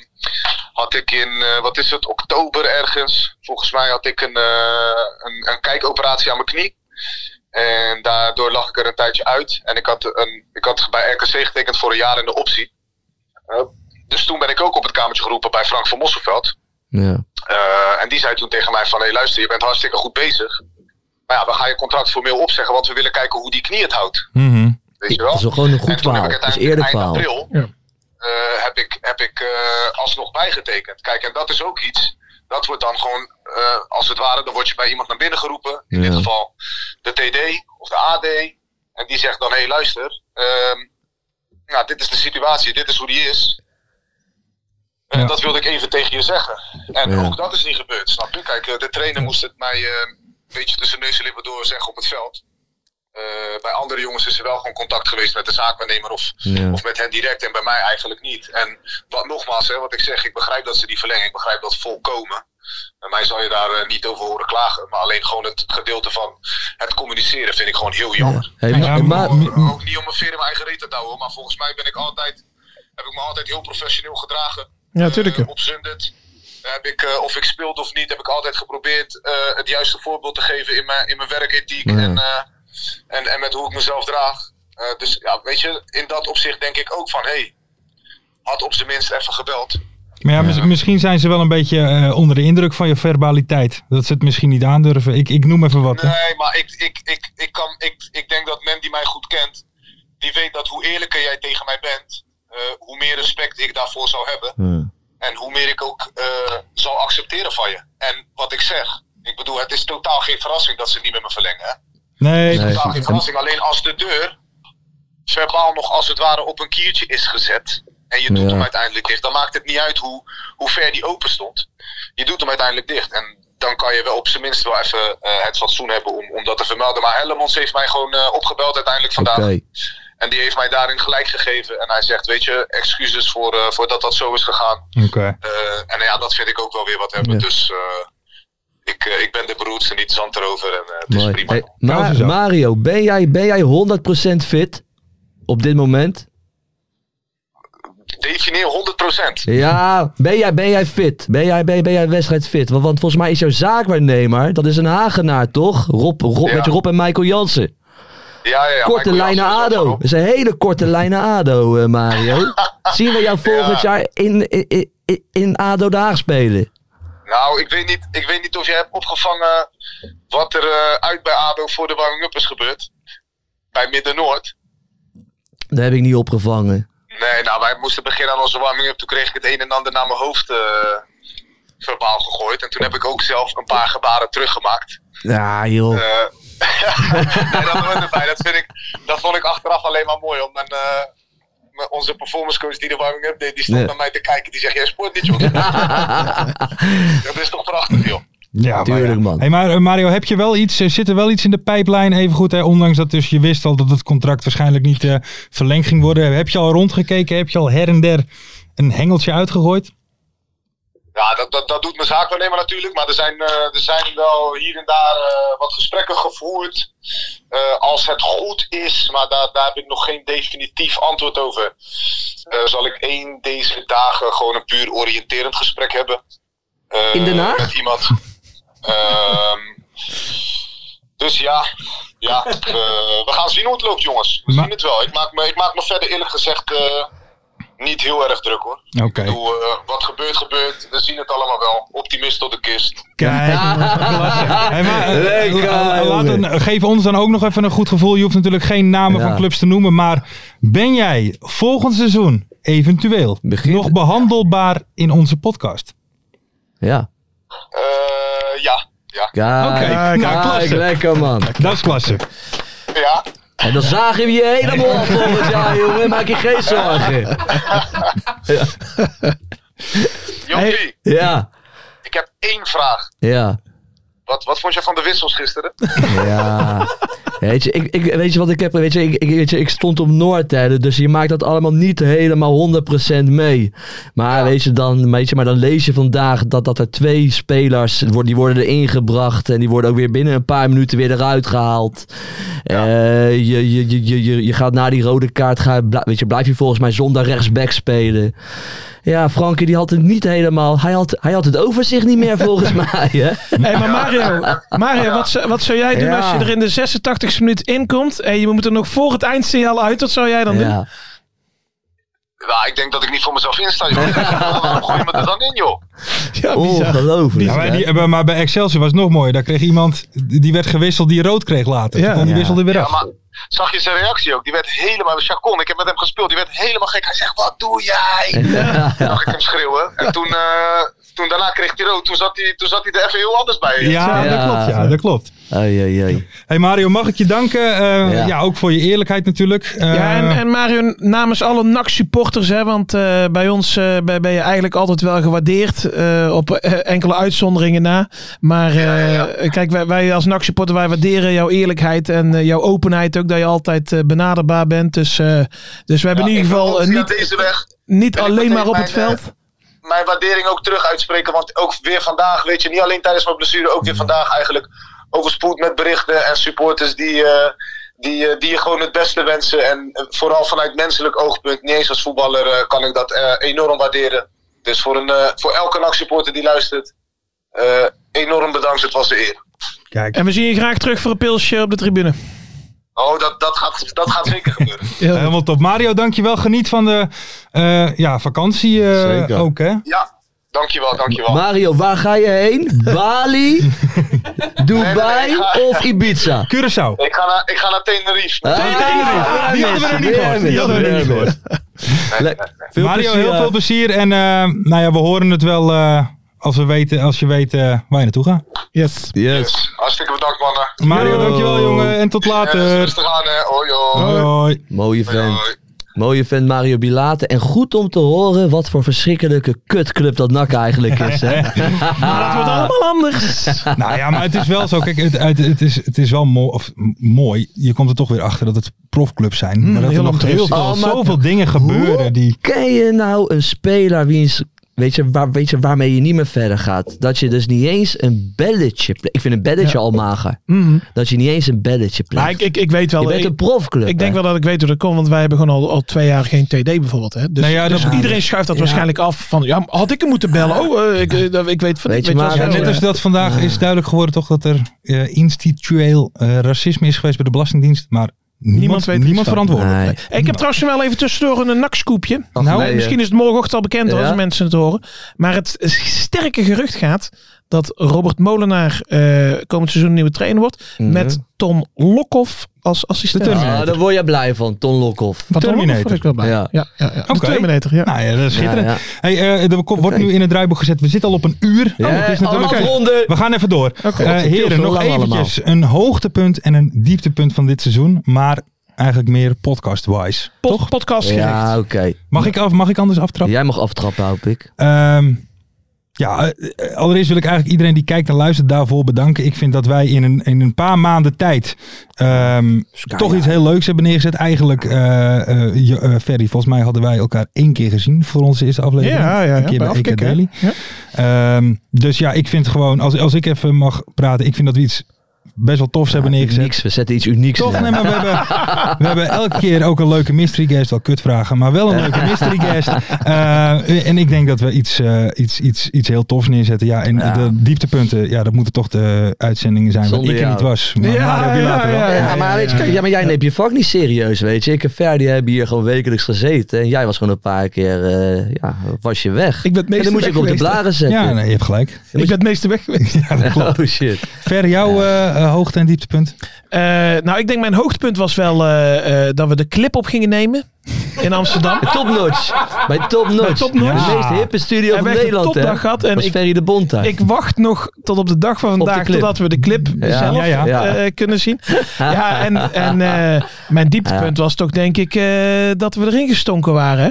had ik in, eh, wat is het, oktober ergens, volgens mij had ik een, eh, een, een kijkoperatie aan mijn knie. En daardoor lag ik er een tijdje uit. En ik had, een, ik had bij RKC getekend voor een jaar in de optie. Eh, dus toen ben ik ook op het kamertje geroepen bij Frank van Mosselveld.
Ja.
Eh, en die zei toen tegen mij van, hé hey, luister, je bent hartstikke goed bezig. Maar ja, we gaan je contract formeel opzeggen, want we willen kijken hoe die knie het houdt.
Mhm.
Weet je wel?
Dat is wel gewoon een goed
En toen heb
verhaal.
ik
Dat is
uiteindelijk
eerlijk
eind
verhaal.
april eh, heb ik, heb ik eh, alsnog bijgetekend. Kijk, en dat is ook iets. Dat wordt dan gewoon, eh, als het ware, dan word je bij iemand naar binnen geroepen. In
Ja.
dit geval de TD of de AD. En die zegt dan, hé hey, luister, ehm, nou, dit is de situatie, dit is hoe die is. En dat wilde ik even tegen je zeggen. En
Ja.
ook dat is niet gebeurd, snap je? Kijk, eh, de trainer moest het mij eh, een beetje tussen neus en lippen door zeggen op het veld. Eh, bij andere jongens is er wel gewoon contact geweest met de zaakwaarnemer of,
Ja.
of met hen direct en bij mij eigenlijk niet. En wat nogmaals, hè, wat ik zeg, ik begrijp dat ze die verlengen, ik begrijp dat volkomen. En mij zal je daar eh, niet over horen klagen, maar alleen gewoon het gedeelte van het communiceren vind ik gewoon heel jammer.
Hey, maar-
Ik
maar-
bedoel, eh, ook niet om een veer in mijn eigen reet te douwen, maar volgens mij ben ik altijd, heb ik me altijd heel professioneel gedragen.
Ja, tuurlijk.
Eh, op Zundert. Heb ik, eh, of ik speelde of niet, heb ik altijd geprobeerd eh, het juiste voorbeeld te geven in mijn, in mijn werkethiek
Ja.
en, eh, en, en met hoe ik mezelf draag. Eh, dus ja, weet je, in dat opzicht denk ik ook van hé, hey, had op zijn minst even gebeld.
Maar ja, mis- misschien zijn ze wel een beetje eh, onder de indruk van je verbaliteit. Dat ze het misschien niet aandurven. Ik, ik noem even wat. hè.
Nee, maar ik, ik, ik, ik, kan, ik, ik denk dat men die mij goed kent, die weet dat hoe eerlijker jij tegen mij bent, eh, hoe meer respect ik daarvoor zou hebben. En hoe meer ik ook eh zal accepteren van je. En wat ik zeg, ik bedoel, het is totaal geen verrassing dat ze niet met me verlengen. Hè?
Nee,
Het is totaal geen verrassing. Alleen als de deur verbaal nog als het ware op een kiertje is gezet. En je doet
Ja.
hem uiteindelijk dicht. Dan maakt het niet uit hoe, hoe ver die open stond. Je doet hem uiteindelijk dicht. En dan kan je wel op zijn minst wel even eh, het fatsoen hebben om, om dat te vermelden. Maar Helmonds heeft mij gewoon eh, opgebeld uiteindelijk vandaag. En die heeft mij daarin gelijk gegeven. En hij zegt, weet je, excuses voor, eh, voor dat dat zo is gegaan.
Oké.
Eh, en ja, dat vind ik ook wel weer wat hebben.
Ja.
Dus eh, ik, eh, ik ben de beroerdste niet zand erover. En, eh,
Mooi. Hey, maar Mario, ben jij, ben jij 100% fit op dit moment?
defineer 100%.
Ja, ben jij, ben jij fit? Ben jij, ben, ben jij wedstrijd fit? Want, want volgens mij is jouw zaakwaarnemer, dat is een Hagenaar toch? Rob, Rob,
Ja.
Met Rob en Michael Jansen.
Ja, ja, ja.
korte
Michael
lijnen
Jansen is
ADO.
ook
Dat is een hele korte lijnen ADO, eh, Mario. Zien we jou volgend jaar in, in, in, in ADO Daag spelen?
wel- Nou, ik weet, niet, ik weet niet of je hebt opgevangen wat er eh, uit bij ADO voor de warming-up is gebeurd. Bij Midden-Noord.
Dat heb ik niet opgevangen.
Nee, nou, wij moesten beginnen aan onze warming-up. Toen kreeg ik het een en ander naar mijn hoofd eh, verbaal gegooid. En toen heb ik ook zelf een paar gebaren teruggemaakt.
Ja, joh.
Eh, nee, dat hoort erbij. Dat, vind ik, dat vond ik achteraf alleen maar mooi. Om mijn, eh, mijn- onze performance coach die de warming-up deed, die stond
Ja.
naar mij te kijken. Die zegt, jij sport niet, joh. dat is toch prachtig, joh.
Ja,
Tuurlijk, man.
Hey, maar eh, Mario, heb je wel iets, eh, zit er wel iets in de pijplijn? Even goed, hè, ondanks dat dus je wist al dat het contract waarschijnlijk niet eh, verlengd ging worden. Heb je al rondgekeken? Heb je al her en der een hengeltje uitgegooid?
Ja, dat, dat, dat doet mijn zaak wel maar natuurlijk. Maar er zijn, eh, er zijn wel hier en daar eh, wat gesprekken gevoerd. Eh, als het goed is, maar daar, daar heb ik nog geen definitief antwoord over. eh, zal ik één deze dagen gewoon een puur oriënterend gesprek hebben. Eh,
In Den Haag?
Met iemand. Ehm, Dus ja, ja eh, we gaan zien hoe het loopt, jongens. We zien het wel. Ik maak me, ik maak me verder eerlijk gezegd eh, niet heel erg druk hoor.
Oké.
Ik bedoel, eh, wat gebeurt, gebeurt. We zien het allemaal wel. Optimist tot de kist.
Kijk, klasse. Hey, maar, eh,
Lekker,
la- laat
jongen.
een- geef ons dan ook nog even een goed gevoel. Je hoeft natuurlijk geen namen
Ja.
van clubs te noemen. Maar ben jij volgend seizoen eventueel nog behandelbaar in onze podcast?
Ja.
Eh, ja, ja.
Kijk,
Kijk, nou,
kijk,
klasse.
lekker man.
Dat is klasse.
Ja.
En dan zagen we je helemaal af volgend jaar, jongen. Maak je geen zorgen. Ja.
Jopie,
Ja,
ik heb één vraag.
ja.
Wat, wat vond je van de wissels gisteren?
Ja. Weet je, ik, ik, weet je wat ik heb? Weet je, ik, ik, weet je, ik stond op Noord, hè, dus je maakt dat allemaal niet helemaal 100% mee. Maar, weet je, dan, weet je, maar dan lees je vandaag dat, dat er twee spelers, worden- die worden erin gebracht en die worden ook weer binnen een paar minuten weer eruit gehaald. Eh, je, je, je, je, je, je gaat na die rode kaart, ga, bla- weet je, blijf je volgens mij zonder rechtsback spelen. Ja, Frankie die had het niet helemaal, hij had, hij had het overzicht niet meer volgens mij. Hè?
Hé, maar Mario, Mario wat, zou- wat zou jij doen
Ja.
als je er in de 86 minuut inkomt en je moet er nog voor het eindsignaal uit? Wat zou jij dan doen?
Nou, ik denk dat ik niet voor mezelf insta, joh. Waarom gooi je me er dan in, joh?
Ja,
Ongelooflijk.
Ja, maar,
hè?
die, maar- maar bij Excelsior was het nog mooier. Daar kreeg iemand, die werd gewisseld, die rood kreeg later. Toen kwam die
Ja.
wisselde weer af.
Ja, maar zag je zijn reactie ook? Die werd helemaal... Chacon, ik heb met hem gespeeld. Die werd helemaal gek. Hij zegt, wat doe jij?
Ja.
Toen Zag ik hem schreeuwen. En toen, eh, toen daarna kreeg hij rood. Toen zat hij, toen zat hij er even heel anders bij.
Ja, dat klopt. Ja, dat klopt.
Ai, ai, ai.
Hey Mario, mag ik je danken? Eh, ja.
Ja.
ook voor je eerlijkheid natuurlijk. Eh,
Ja, en, en Mario, namens alle NAC-supporters, hè, want eh, bij ons eh, ben, ben je eigenlijk altijd wel gewaardeerd, eh, op eh, enkele uitzonderingen na. Maar eh, kijk, wij, wij als NAC-supporter, wij waarderen jouw eerlijkheid en eh, jouw openheid ook, dat je altijd eh, benaderbaar bent. Dus, eh, dus we hebben in ieder geval eh,
Via
niet,
deze weg
niet alleen
meteen
maar op
mijn,
het veld.
eh, mijn waardering ook terug uitspreken. Want ook weer vandaag, weet je, niet alleen tijdens mijn blessure, ook weer
Mm.
vandaag eigenlijk overspoeld met berichten en supporters die, eh, die, eh, die je gewoon het beste wensen. En eh, vooral vanuit menselijk oogpunt, niet eens als voetballer, eh, kan ik dat eh, enorm waarderen. Dus voor, een, eh, voor elke NAC-supporter die luistert, eh, enorm bedankt. Het was de eer.
En we zien je graag terug voor een pilsje op de tribune.
Oh, dat, dat, gaat, dat gaat zeker gebeuren.
eh, Helemaal top. Mario, dankjewel. Geniet van de eh, ja, vakantie eh,
Zeker.
ook, hè?
Ja, dankjewel,
Oh.
dankjewel.
Mario, waar ga je heen? Bali, Dubai
Nee, nee, nee, ik
of Ibiza?
Curaçao.
Ik ga naar, ik ga naar Tenerife.
Ah, Tenerife.
Die hadden we er niet gehoord. Die hadden we er niet gehoord.
Veel
Mario,
plezier,
heel
eh.
veel plezier. En eh, nou ja, we horen het wel eh, als, we weten, als je weet eh, waar je naartoe gaat.
Yes.
Yes.
Hartstikke bedankt, mannen.
Mario,
Yo.
dankjewel jongen. En tot
Eh,
later.
rustig aan, hè. Hoi, hoi.
Hoi. hoi.
Mooie vent.
hoi.
Mooie vent Mario Bilate. En goed om te horen wat voor verschrikkelijke kutclub dat NAC eigenlijk is. Hè?
Maar dat wordt allemaal anders.
Ah. Nou ja, maar het is wel zo. Kijk, het, het, het is, het is wel mooi, of, m- mooi. Je komt er toch weer achter dat het profclubs zijn. maar dat er
heel
nog heel
ongerust.
veel,
Oh, maar-
zoveel dingen gebeuren die...
Ken je nou een speler wiens, weet, je, waar, weet je, waarmee je niet meer verder gaat? Dat je dus niet eens een belletje... ple- Ik vind een belletje al mager.
Mhm.
Dat je niet eens een belletje
Maar
pleegt.
ik, ik, ik weet wel... eh,
Je bent
ik-
een profclub.
Ik denk
hè?
wel dat ik weet hoe dat komt, want wij hebben gewoon al, al twee jaar geen TD bijvoorbeeld. Hè? Dus,
Nou ja,
dus
dat-
iedereen schuift dat
Ja.
waarschijnlijk af van, ja, had ik hem moeten bellen? Oh, eh, ik, eh, dat- ik weet van
Weet
ik
je maar, eh,
wel
Ja,
zo,
net
ja.
als dat vandaag is duidelijk geworden toch dat er eh, institueel eh, racisme is geweest bij de Belastingdienst. Maar niemand,
Niemand
niemand,
weet wie het
verantwoordelijk.
Nee.
Ik heb trouwens wel even tussendoor een nakscoopje.
Ach,
Nou,
nee, eh.
misschien is het morgenochtend al bekend hoor,
Ja?
als mensen het horen. Maar het sterke gerucht gaat dat Robert Molenaar eh, komend seizoen nieuwe trainer wordt.
Mhm.
Met Ton Lokhoff als assistent.
De Terminator.
Ah, daar word je blij van, Ton Lokhoff.
Van Ton Lokhoff
Terminator.
was ik wel blij. Ja,
Ja.
ja, ja, De
Oké.
Terminator, ja.
Nou ja, dat is schitterend.
Ja, ja.
Hey, eh, er ko- wordt nu in het draaiboek gezet. We zitten al op een uur.
Ja,
Oh, het is natuurlijk...
allemaal
Oké,
afronden.
We gaan even door. Eh
het is veel
heren,
te
nog
lang
eventjes een hoogtepunt en een dieptepunt van dit seizoen. Maar eigenlijk meer podcast-wise.
Pod- Podcastgericht.
Ja, oké.
Mag ik, af, mag ik anders aftrappen?
Jij mag aftrappen, hoop ik.
Ehm, ja, eh, eh, allereerst wil ik eigenlijk iedereen die kijkt en luistert daarvoor bedanken. Ik vind dat wij in een, in een paar maanden tijd ehm, toch iets heel leuks hebben neergezet. Eigenlijk, eh, eh, je- eh, Ferry, volgens mij hadden wij elkaar één keer gezien voor onze eerste aflevering.
Ja, ja, ja,
Een keer
bij
bij EK
Afkikken, hè?
Daily.
Ja.
Ehm, dus ja, ik vind gewoon, als, als ik even mag praten, ik vind dat we iets best wel tofs hebben neergezet.
Niks, we zetten iets unieks
Toch,
neer.
nee, maar we hebben, we hebben elke keer ook een leuke mystery guest. Wel kutvragen, maar wel een leuke mystery guest. Eh, en ik denk dat we iets, eh, iets, iets, iets heel tofs neerzetten. Ja, en
Ja.
de dieptepunten, ja, dat moeten toch de uitzendingen zijn
Zonder
waar ik er
jou.
niet was. Maar
Ja,
Mario die later wel.
Ja, maar, weet je, kijk, ja, maar jij neemt je vak niet serieus, weet je. Ik en Ferdi hebben hier gewoon wekelijks gezeten. En jij was gewoon een paar keer, eh, ja, was je weg.
Ik ben het
en
meeste
dan moet je
weg
ook op de
geweest, hè?
blaren zetten.
Ja, nee, je hebt gelijk.
Ik ben het meeste weg geweest.
Ja, dat klopt.
Oh shit.
Ver jouw eh, eh, hoogte en dieptepunt?
Eh, nou, ik denk mijn hoogtepunt was wel eh, eh, dat we de clip op gingen nemen in Amsterdam.
Top notch. Bij Top Notch.
Bij Top Notch.
De meest hippe studio
Hebben
van
echt een
Nederland, hè.
topdag gehad en
was
ik-
Ferry de Bond daar.
Ik wacht nog tot op de dag van
de
vandaag
clip.
totdat we de clip
Ja.
zelf
Ja, ja.
eh, kunnen zien. Ja, en, en eh, mijn dieptepunt was toch denk ik eh, dat we erin gestonken waren. hè?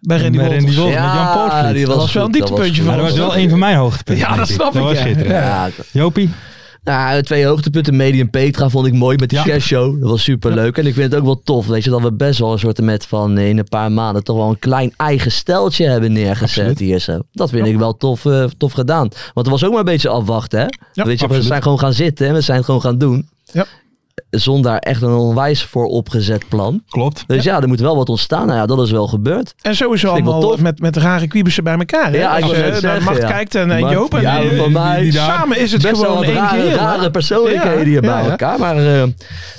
Bij Randy
Bij Randy
Wolters.
Wolters met Jan Poortvliet.
die
Dat was wel
goed,
een dieptepuntje
goed.
Maar dat was wel een van mijn hoogtepunten.
Ja, dat
denk
snap ik,
Dat was
ja.
schitterend.
Ja,
Jopie?
Nou, twee hoogtepunten. Medium Petra vond ik mooi met de
Ja.
sketch show. Dat was super leuk. En ik vind het ook wel tof, weet je, dat we best wel een soort met van eh, in een paar maanden toch wel een klein eigen steltje hebben neergezet hier zo. Dat vind ik wel tof, eh, tof gedaan. Want het was ook maar een beetje afwachten, hè? weet je, we
absoluut.
zijn gewoon gaan zitten en we zijn het gewoon gaan doen.
Ja.
Zonder echt een onwijs voor opgezet plan.
Klopt.
Dus ja, er moet wel wat ontstaan. Nou ja, dat is wel gebeurd.
En sowieso
Vind ik wel
allemaal
tof.
met, met rare kwiebussen bij elkaar. Hè?
Ja, ik
Als
wou
je
net
naar
zeggen,
Mart
ja.
kijkt en, en
Mart,
Joop en,
ja,
en-
van mij.
die daar- samen is het
best wel
gewoon
wat
één
rare,
geheel, hè?
rare persoonlijkheden
Ja,
hier bij
ja.
elkaar. Maar eh,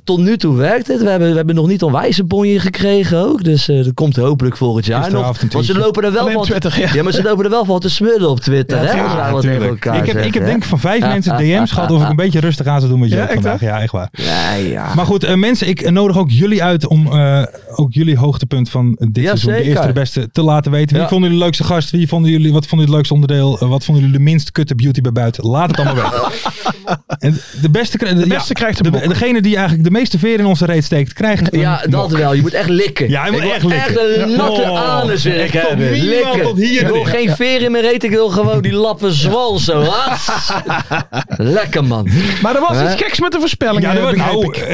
tot nu toe werkt het. We hebben, we hebben nog niet onwijze bonje gekregen ook. Dus eh, dat komt hopelijk volgend jaar nog.
Gisteravond een
Want ze
tweetje.
lopen er wel
Alleen
van
Twitter, ja.
maar ze lopen er wel van te smullen op Twitter. hè?
tuurlijk,
Als wij wat tegen
natuurlijk.
elkaar
Ik heb, ik
zeggen,
heb
hè?
denk ik van vijf mensen DM's gehad of ik een beetje rustig aan zou doen met Joop
Ja, echt
vandaag. Ja, echt waar.
Ja, ja.
Maar goed, eh, mensen, ik nodig ook jullie uit om eh, ook jullie hoogtepunt van dit
Ja,
seizoen, de
zeker.
eerste de beste, te laten weten. Wie
Ja.
vonden jullie de leukste gast? Wie vonden jullie, wat vonden jullie het leukste onderdeel? Eh, wat vonden jullie de minst kutte beauty bij buiten? Laat het allemaal weten. En de beste, kri-
De beste krijgt een
de-
bok.
Degene die eigenlijk de meeste veren in onze reet steekt, krijgt een
Ja,
mok.
dat wel. Je moet echt likken.
Ja, je moet
Ik wil
echt likken.
Echt een natte
Oh,
anus wil ik
echt tot
hebben.
minimaal
Likken.
tot hier
ik wil
erin.
geen veer in mijn reet. Ik wil gewoon die lappen zwal zo. Ah, Lekker man.
Maar er was
Hè?
iets geks met de voorspelling.
Ja, dat was- nou, eh,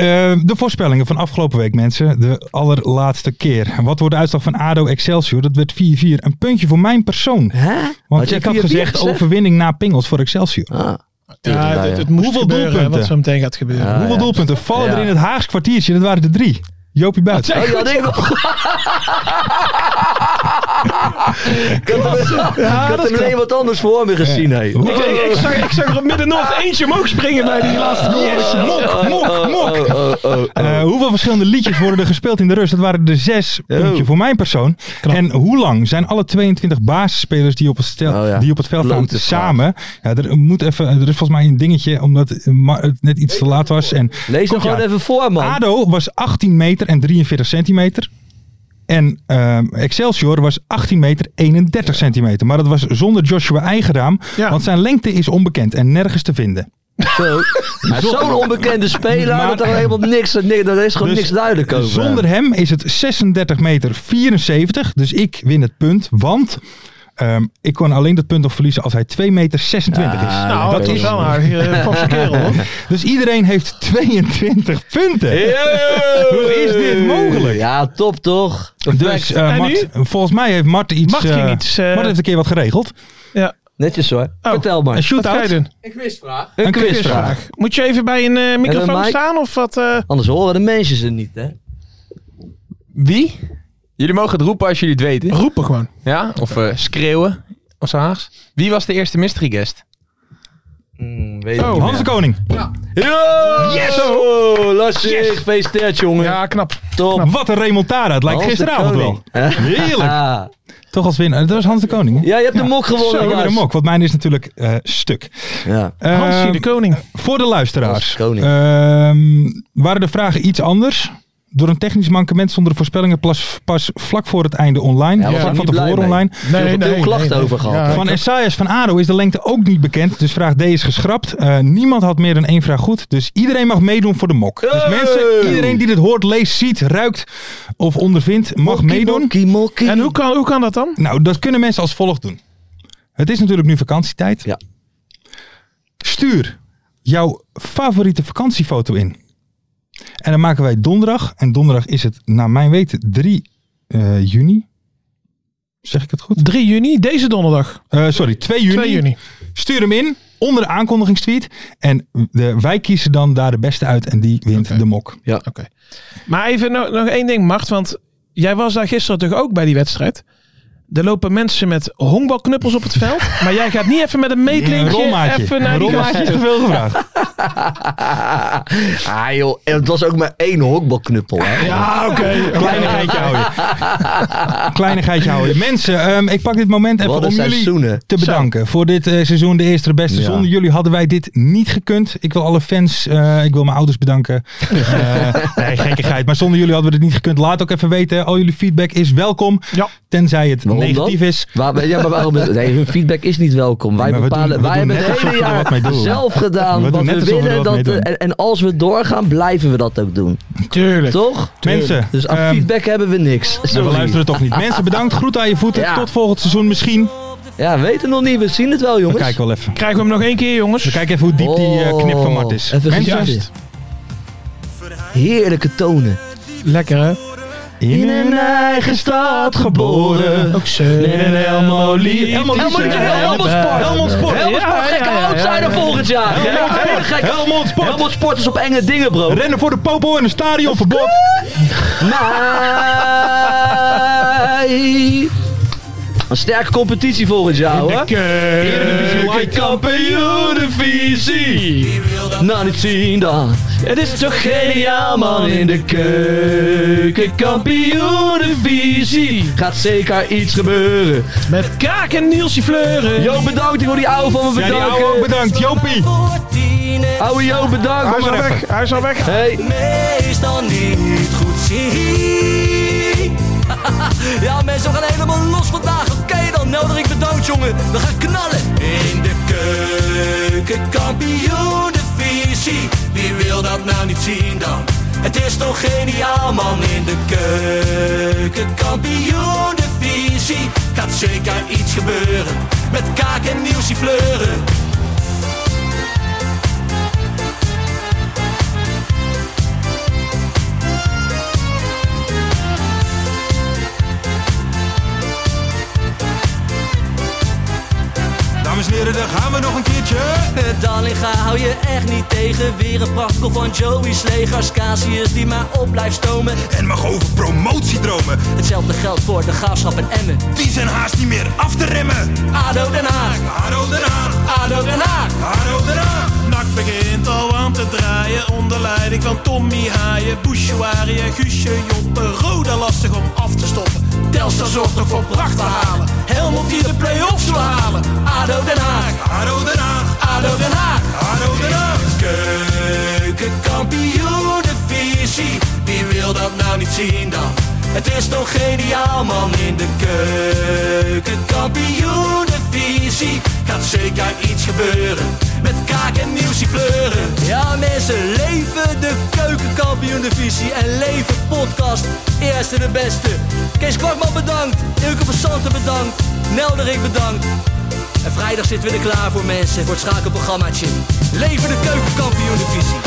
de voorspellingen van afgelopen week, mensen. De allerlaatste keer. Wat wordt de uitslag van ADO Excelsior? Dat werd 4-4. Een puntje voor mijn persoon.
Hè?
Want ik
je
had
4-4
gezegd overwinning na Pingels voor Excelsior.
Ah.
ja, het, het moest
Hoeveel
gebeuren, hè,
doelpunten?
wat zo meteen gaat gebeuren.
Ah, Ja.
Hoeveel doelpunten vallen er
Ja.
in het Haags kwartiertje? Dat waren er drie. Jopie Buit.
Oh, ja, denk ik wel. Ik had hem- ik had hem alleen wat anders voor me gezien. Oh, hè.
Ik, ik, ik zag, ik zag er op middernacht eentje omhoog springen bij die laatste goal.
Mok, mok, mok.
Oh, oh, oh, oh. Oh.
Eh, hoeveel verschillende liedjes worden er gespeeld in de rust? Dat waren er zes puntje voor mijn persoon. En hoe lang zijn alle 22 basisspelers die op het, stel,
Oh ja.
die op het veld staan
Blote vraag.
samen? Ja, er, moet even, er is volgens mij een dingetje omdat eh, Ma- het net iets te laat was. En
Lees hem
Komt-ie
gewoon
aan.
even voor, man.
ADO was 18 meter en 43 centimeter. En ehm, Excelsior was 18 meter 31 centimeter. Maar dat was zonder Joshua Eigenraam.
Ja.
Want zijn lengte is onbekend en nergens te vinden.
Zo. Hij is Zo'n onbekende speler
Maar-
dat er helemaal niks, niks, daar is gewoon
Dus
niks duidelijk over.
Zonder hem is het 36 meter 74. Dus ik win het punt. Want ehm, ik kon alleen dat punt nog verliezen als hij 2 meter 26 is.
Ah,
Nou,
dat
dat
weet
is
ik
wel
niet.
een eh, forse kerel. hoor.
Dus iedereen heeft 22 punten. Hoe is dit mogelijk?
Ja, top toch?
Dus eh,
En
Mart, volgens mij heeft Mart iets.
Mart ging
eh,
iets, eh,
Mart heeft een keer wat geregeld.
Oh, Netjes hoor.
Oh.
Vertel maar.
Een
Wat ga je
shootout.
doen?
Een
quizvraag.
quizvraag.
Moet je even bij een eh, microfoon
mic?
staan of wat? eh?
Anders horen de mensen ze niet, hè?
Wie? Jullie mogen het roepen als jullie het weten.
Roepen gewoon.
Ja? Of eh, schreeuwen. Of zo haags. Wie was de eerste mystery guest?
Mm, weet ik
Oh.
niet.
Hans de Koning.
Yo! Yes! Oh, lastig. Gefeliciteerd, jongen.
Ja, knap.
top.
Wat een remontada. Het lijkt
Hans de
gisteravond wel.
Koning.
Heerlijk.
Ah.
Toch als winnaar. Dat was Hans de Koning. hè?
Ja, je hebt de mok gewonnen.
Zo, weer
Lars.
een mok. Want mijn is natuurlijk eh, stuk.
Ja.
Eh,
Hansie de Koning.
Voor de
Hans
luisteraars.
de Koning.
Ehm, waren de vragen iets anders? Door een technisch mankement stonden de voorspellingen pas, pas vlak voor het einde online.
Ja, we
vlak
zijn
van
niet blij
tevoren
mee.
online.
Nee, veel klachten over gehad.
Ja,
Van Esaias van ADO is de lengte ook niet bekend. Dus vraag D is geschrapt. Eh, niemand had meer dan één vraag goed. Dus iedereen mag meedoen voor de mok. Dus
Hey!
mensen, iedereen die dit hoort, leest, ziet, ruikt of ondervindt, mag
Mokkie,
meedoen.
mokkie, mokkie.
En hoe kan, hoe kan dat dan?
Nou, dat kunnen mensen als volgt doen. Het is natuurlijk nu vakantietijd.
Ja.
Stuur jouw favoriete vakantiefoto in. En dan maken wij donderdag. En donderdag is het, naar mijn weten, 3 eh, juni. Zeg ik het goed?
3 juni, deze donderdag.
Eh, sorry, 2 juni.
2 juni.
Stuur hem in. onder de aankondigingstweet. En de, wij kiezen dan daar de beste uit en die wint de mok.
Ja,
oké.
Maar even nog, nog één ding, Mart. Want jij was daar gisteren toch ook bij die wedstrijd? Er lopen mensen met honkbalknuppels op het veld. Maar jij gaat niet even met een
Een
meetlinkje
rommaatje.
even naar
Een
die
rommaatje
gasten
te
toe.
veel gevraagd.
Ah joh, en het was ook maar één honkbalknuppel. Hè?
Ja, oké. Kleinigheidje hou je. Kleinigheidje hou je. Mensen, ehm, ik pak dit moment even
Wat
om
een
jullie
seizoenen.
te bedanken voor dit eh, seizoen. De eerste, de beste.
Ja.
Zonder jullie hadden wij dit niet gekund. Ik wil alle fans, eh, ik wil mijn ouders bedanken. Eh, nee, gekkigheid. Maar zonder jullie hadden we dit niet gekund. Laat ook even weten. Al jullie feedback is welkom. Tenzij het
Waarom dan?
negatief is.
Waar- ja, maar waarom? Nee, hun feedback is niet welkom. Wij,
maar we
bepalen,
doen- we
wij
doen
hebben
net
het
alsof
hele
we er wat mee
jaar
doen.
zelf gedaan
We doen
wat
net
we
alsof we er
willen.
wat mee
Dat,
doen.
en, en als we doorgaan, blijven we dat ook doen.
Tuurlijk.
Toch?
Mensen,
Dus aan
ehm,
feedback hebben we niks.
Nou,
Sorry.
we luisteren toch niet. Mensen, bedankt. Groet aan je voeten.
Ja.
Tot volgend seizoen misschien.
Ja, we weten nog niet. We zien het wel, jongens.
We kijken wel even.
Krijgen we hem nog één keer, jongens?
We kijken even hoe diep die eh, knip van Mart is.
Oh, even
Mensen,
genieten. Heerlijke tonen.
Lekker, hè?
in een
eigen stad geboren.
Ook ze.
Helemaal lief.
Helmond
Helmond
Sport.
Helmond Sport.
Helmond Sport.
Helmond Sport. Gekke outsider volgend jaar. Helemaal gek.
Helmond Sport.
Helmond Sport is op enge dingen, bro.
Rennen voor de popo en een stadionverbod.
Mai. Een sterke competitie volgend jaar, hoor. Keukenkampioenenvisie. Nou, niet zien dan. Het is toch geniaal, man. In de keukenkampioenenvisie. Gaat zeker iets gebeuren.
Met Kaak en Nielsje Fleuren.
Jo, bedankt. Ik wil die ouwe van me
Ja, die
bedanken.
ouwe ook bedankt. Jopie.
Ouwe Jo, bedankt.
Hou
Kom
maar
maar
weg.
even.
Hij is al weg.
Hey.
Meestal niet goed zien. ja, mensen, we gaan helemaal los vandaag. Oké dan, nodig ik bedankt, jongen. We gaan knallen. In de keuken, kampioenenvisie. Wie wil dat nou niet zien dan? Het is toch geniaal, man. In de keuken, kampioenenvisie. Gaat zeker iets gebeuren. Met kaak en nieuwsie fleuren.
Dames en heren, daar gaan we nog een keertje.
Dallinga hou je echt niet tegen. Weer een prachtkel van Joey's legers. Casius die maar op blijft stomen.
En mag over promotiedromen.
Hetzelfde geldt voor de graafschap en Emmen.
Die zijn haast niet meer af te remmen.
ADO Den Haag.
ADO Den Haag.
ADO Den Haag.
ADO Den Haag.
Nak begint al aan te draaien onder leiding van Tommy Haaien, Bouchouari en Guusje Joppen. Roda lastig om af te stoppen. Telstar zorgt nog voor pracht te halen. Helmond die de play-offs wil halen.
ADO Den Haag.
ADO Den Haag.
ADO Den Haag.
ADO Den Haag.
Keukenkampioenenvisie. Wie wil dat nou niet zien dan? Het is toch geniaal man in de keukenkampioenenvisie. Gaat zeker iets gebeuren. Met kaak en nieuwsie kleuren. Ja mensen, leven de keukenkampioenenvisie. En leven podcast. Eerste de beste. Kees Kwakman bedankt. Ilke van Santen bedankt. Nelderik bedankt. En vrijdag zitten we er klaar voor mensen, voor het schakelprogrammaatje. Leven de keukenkampioen divisie.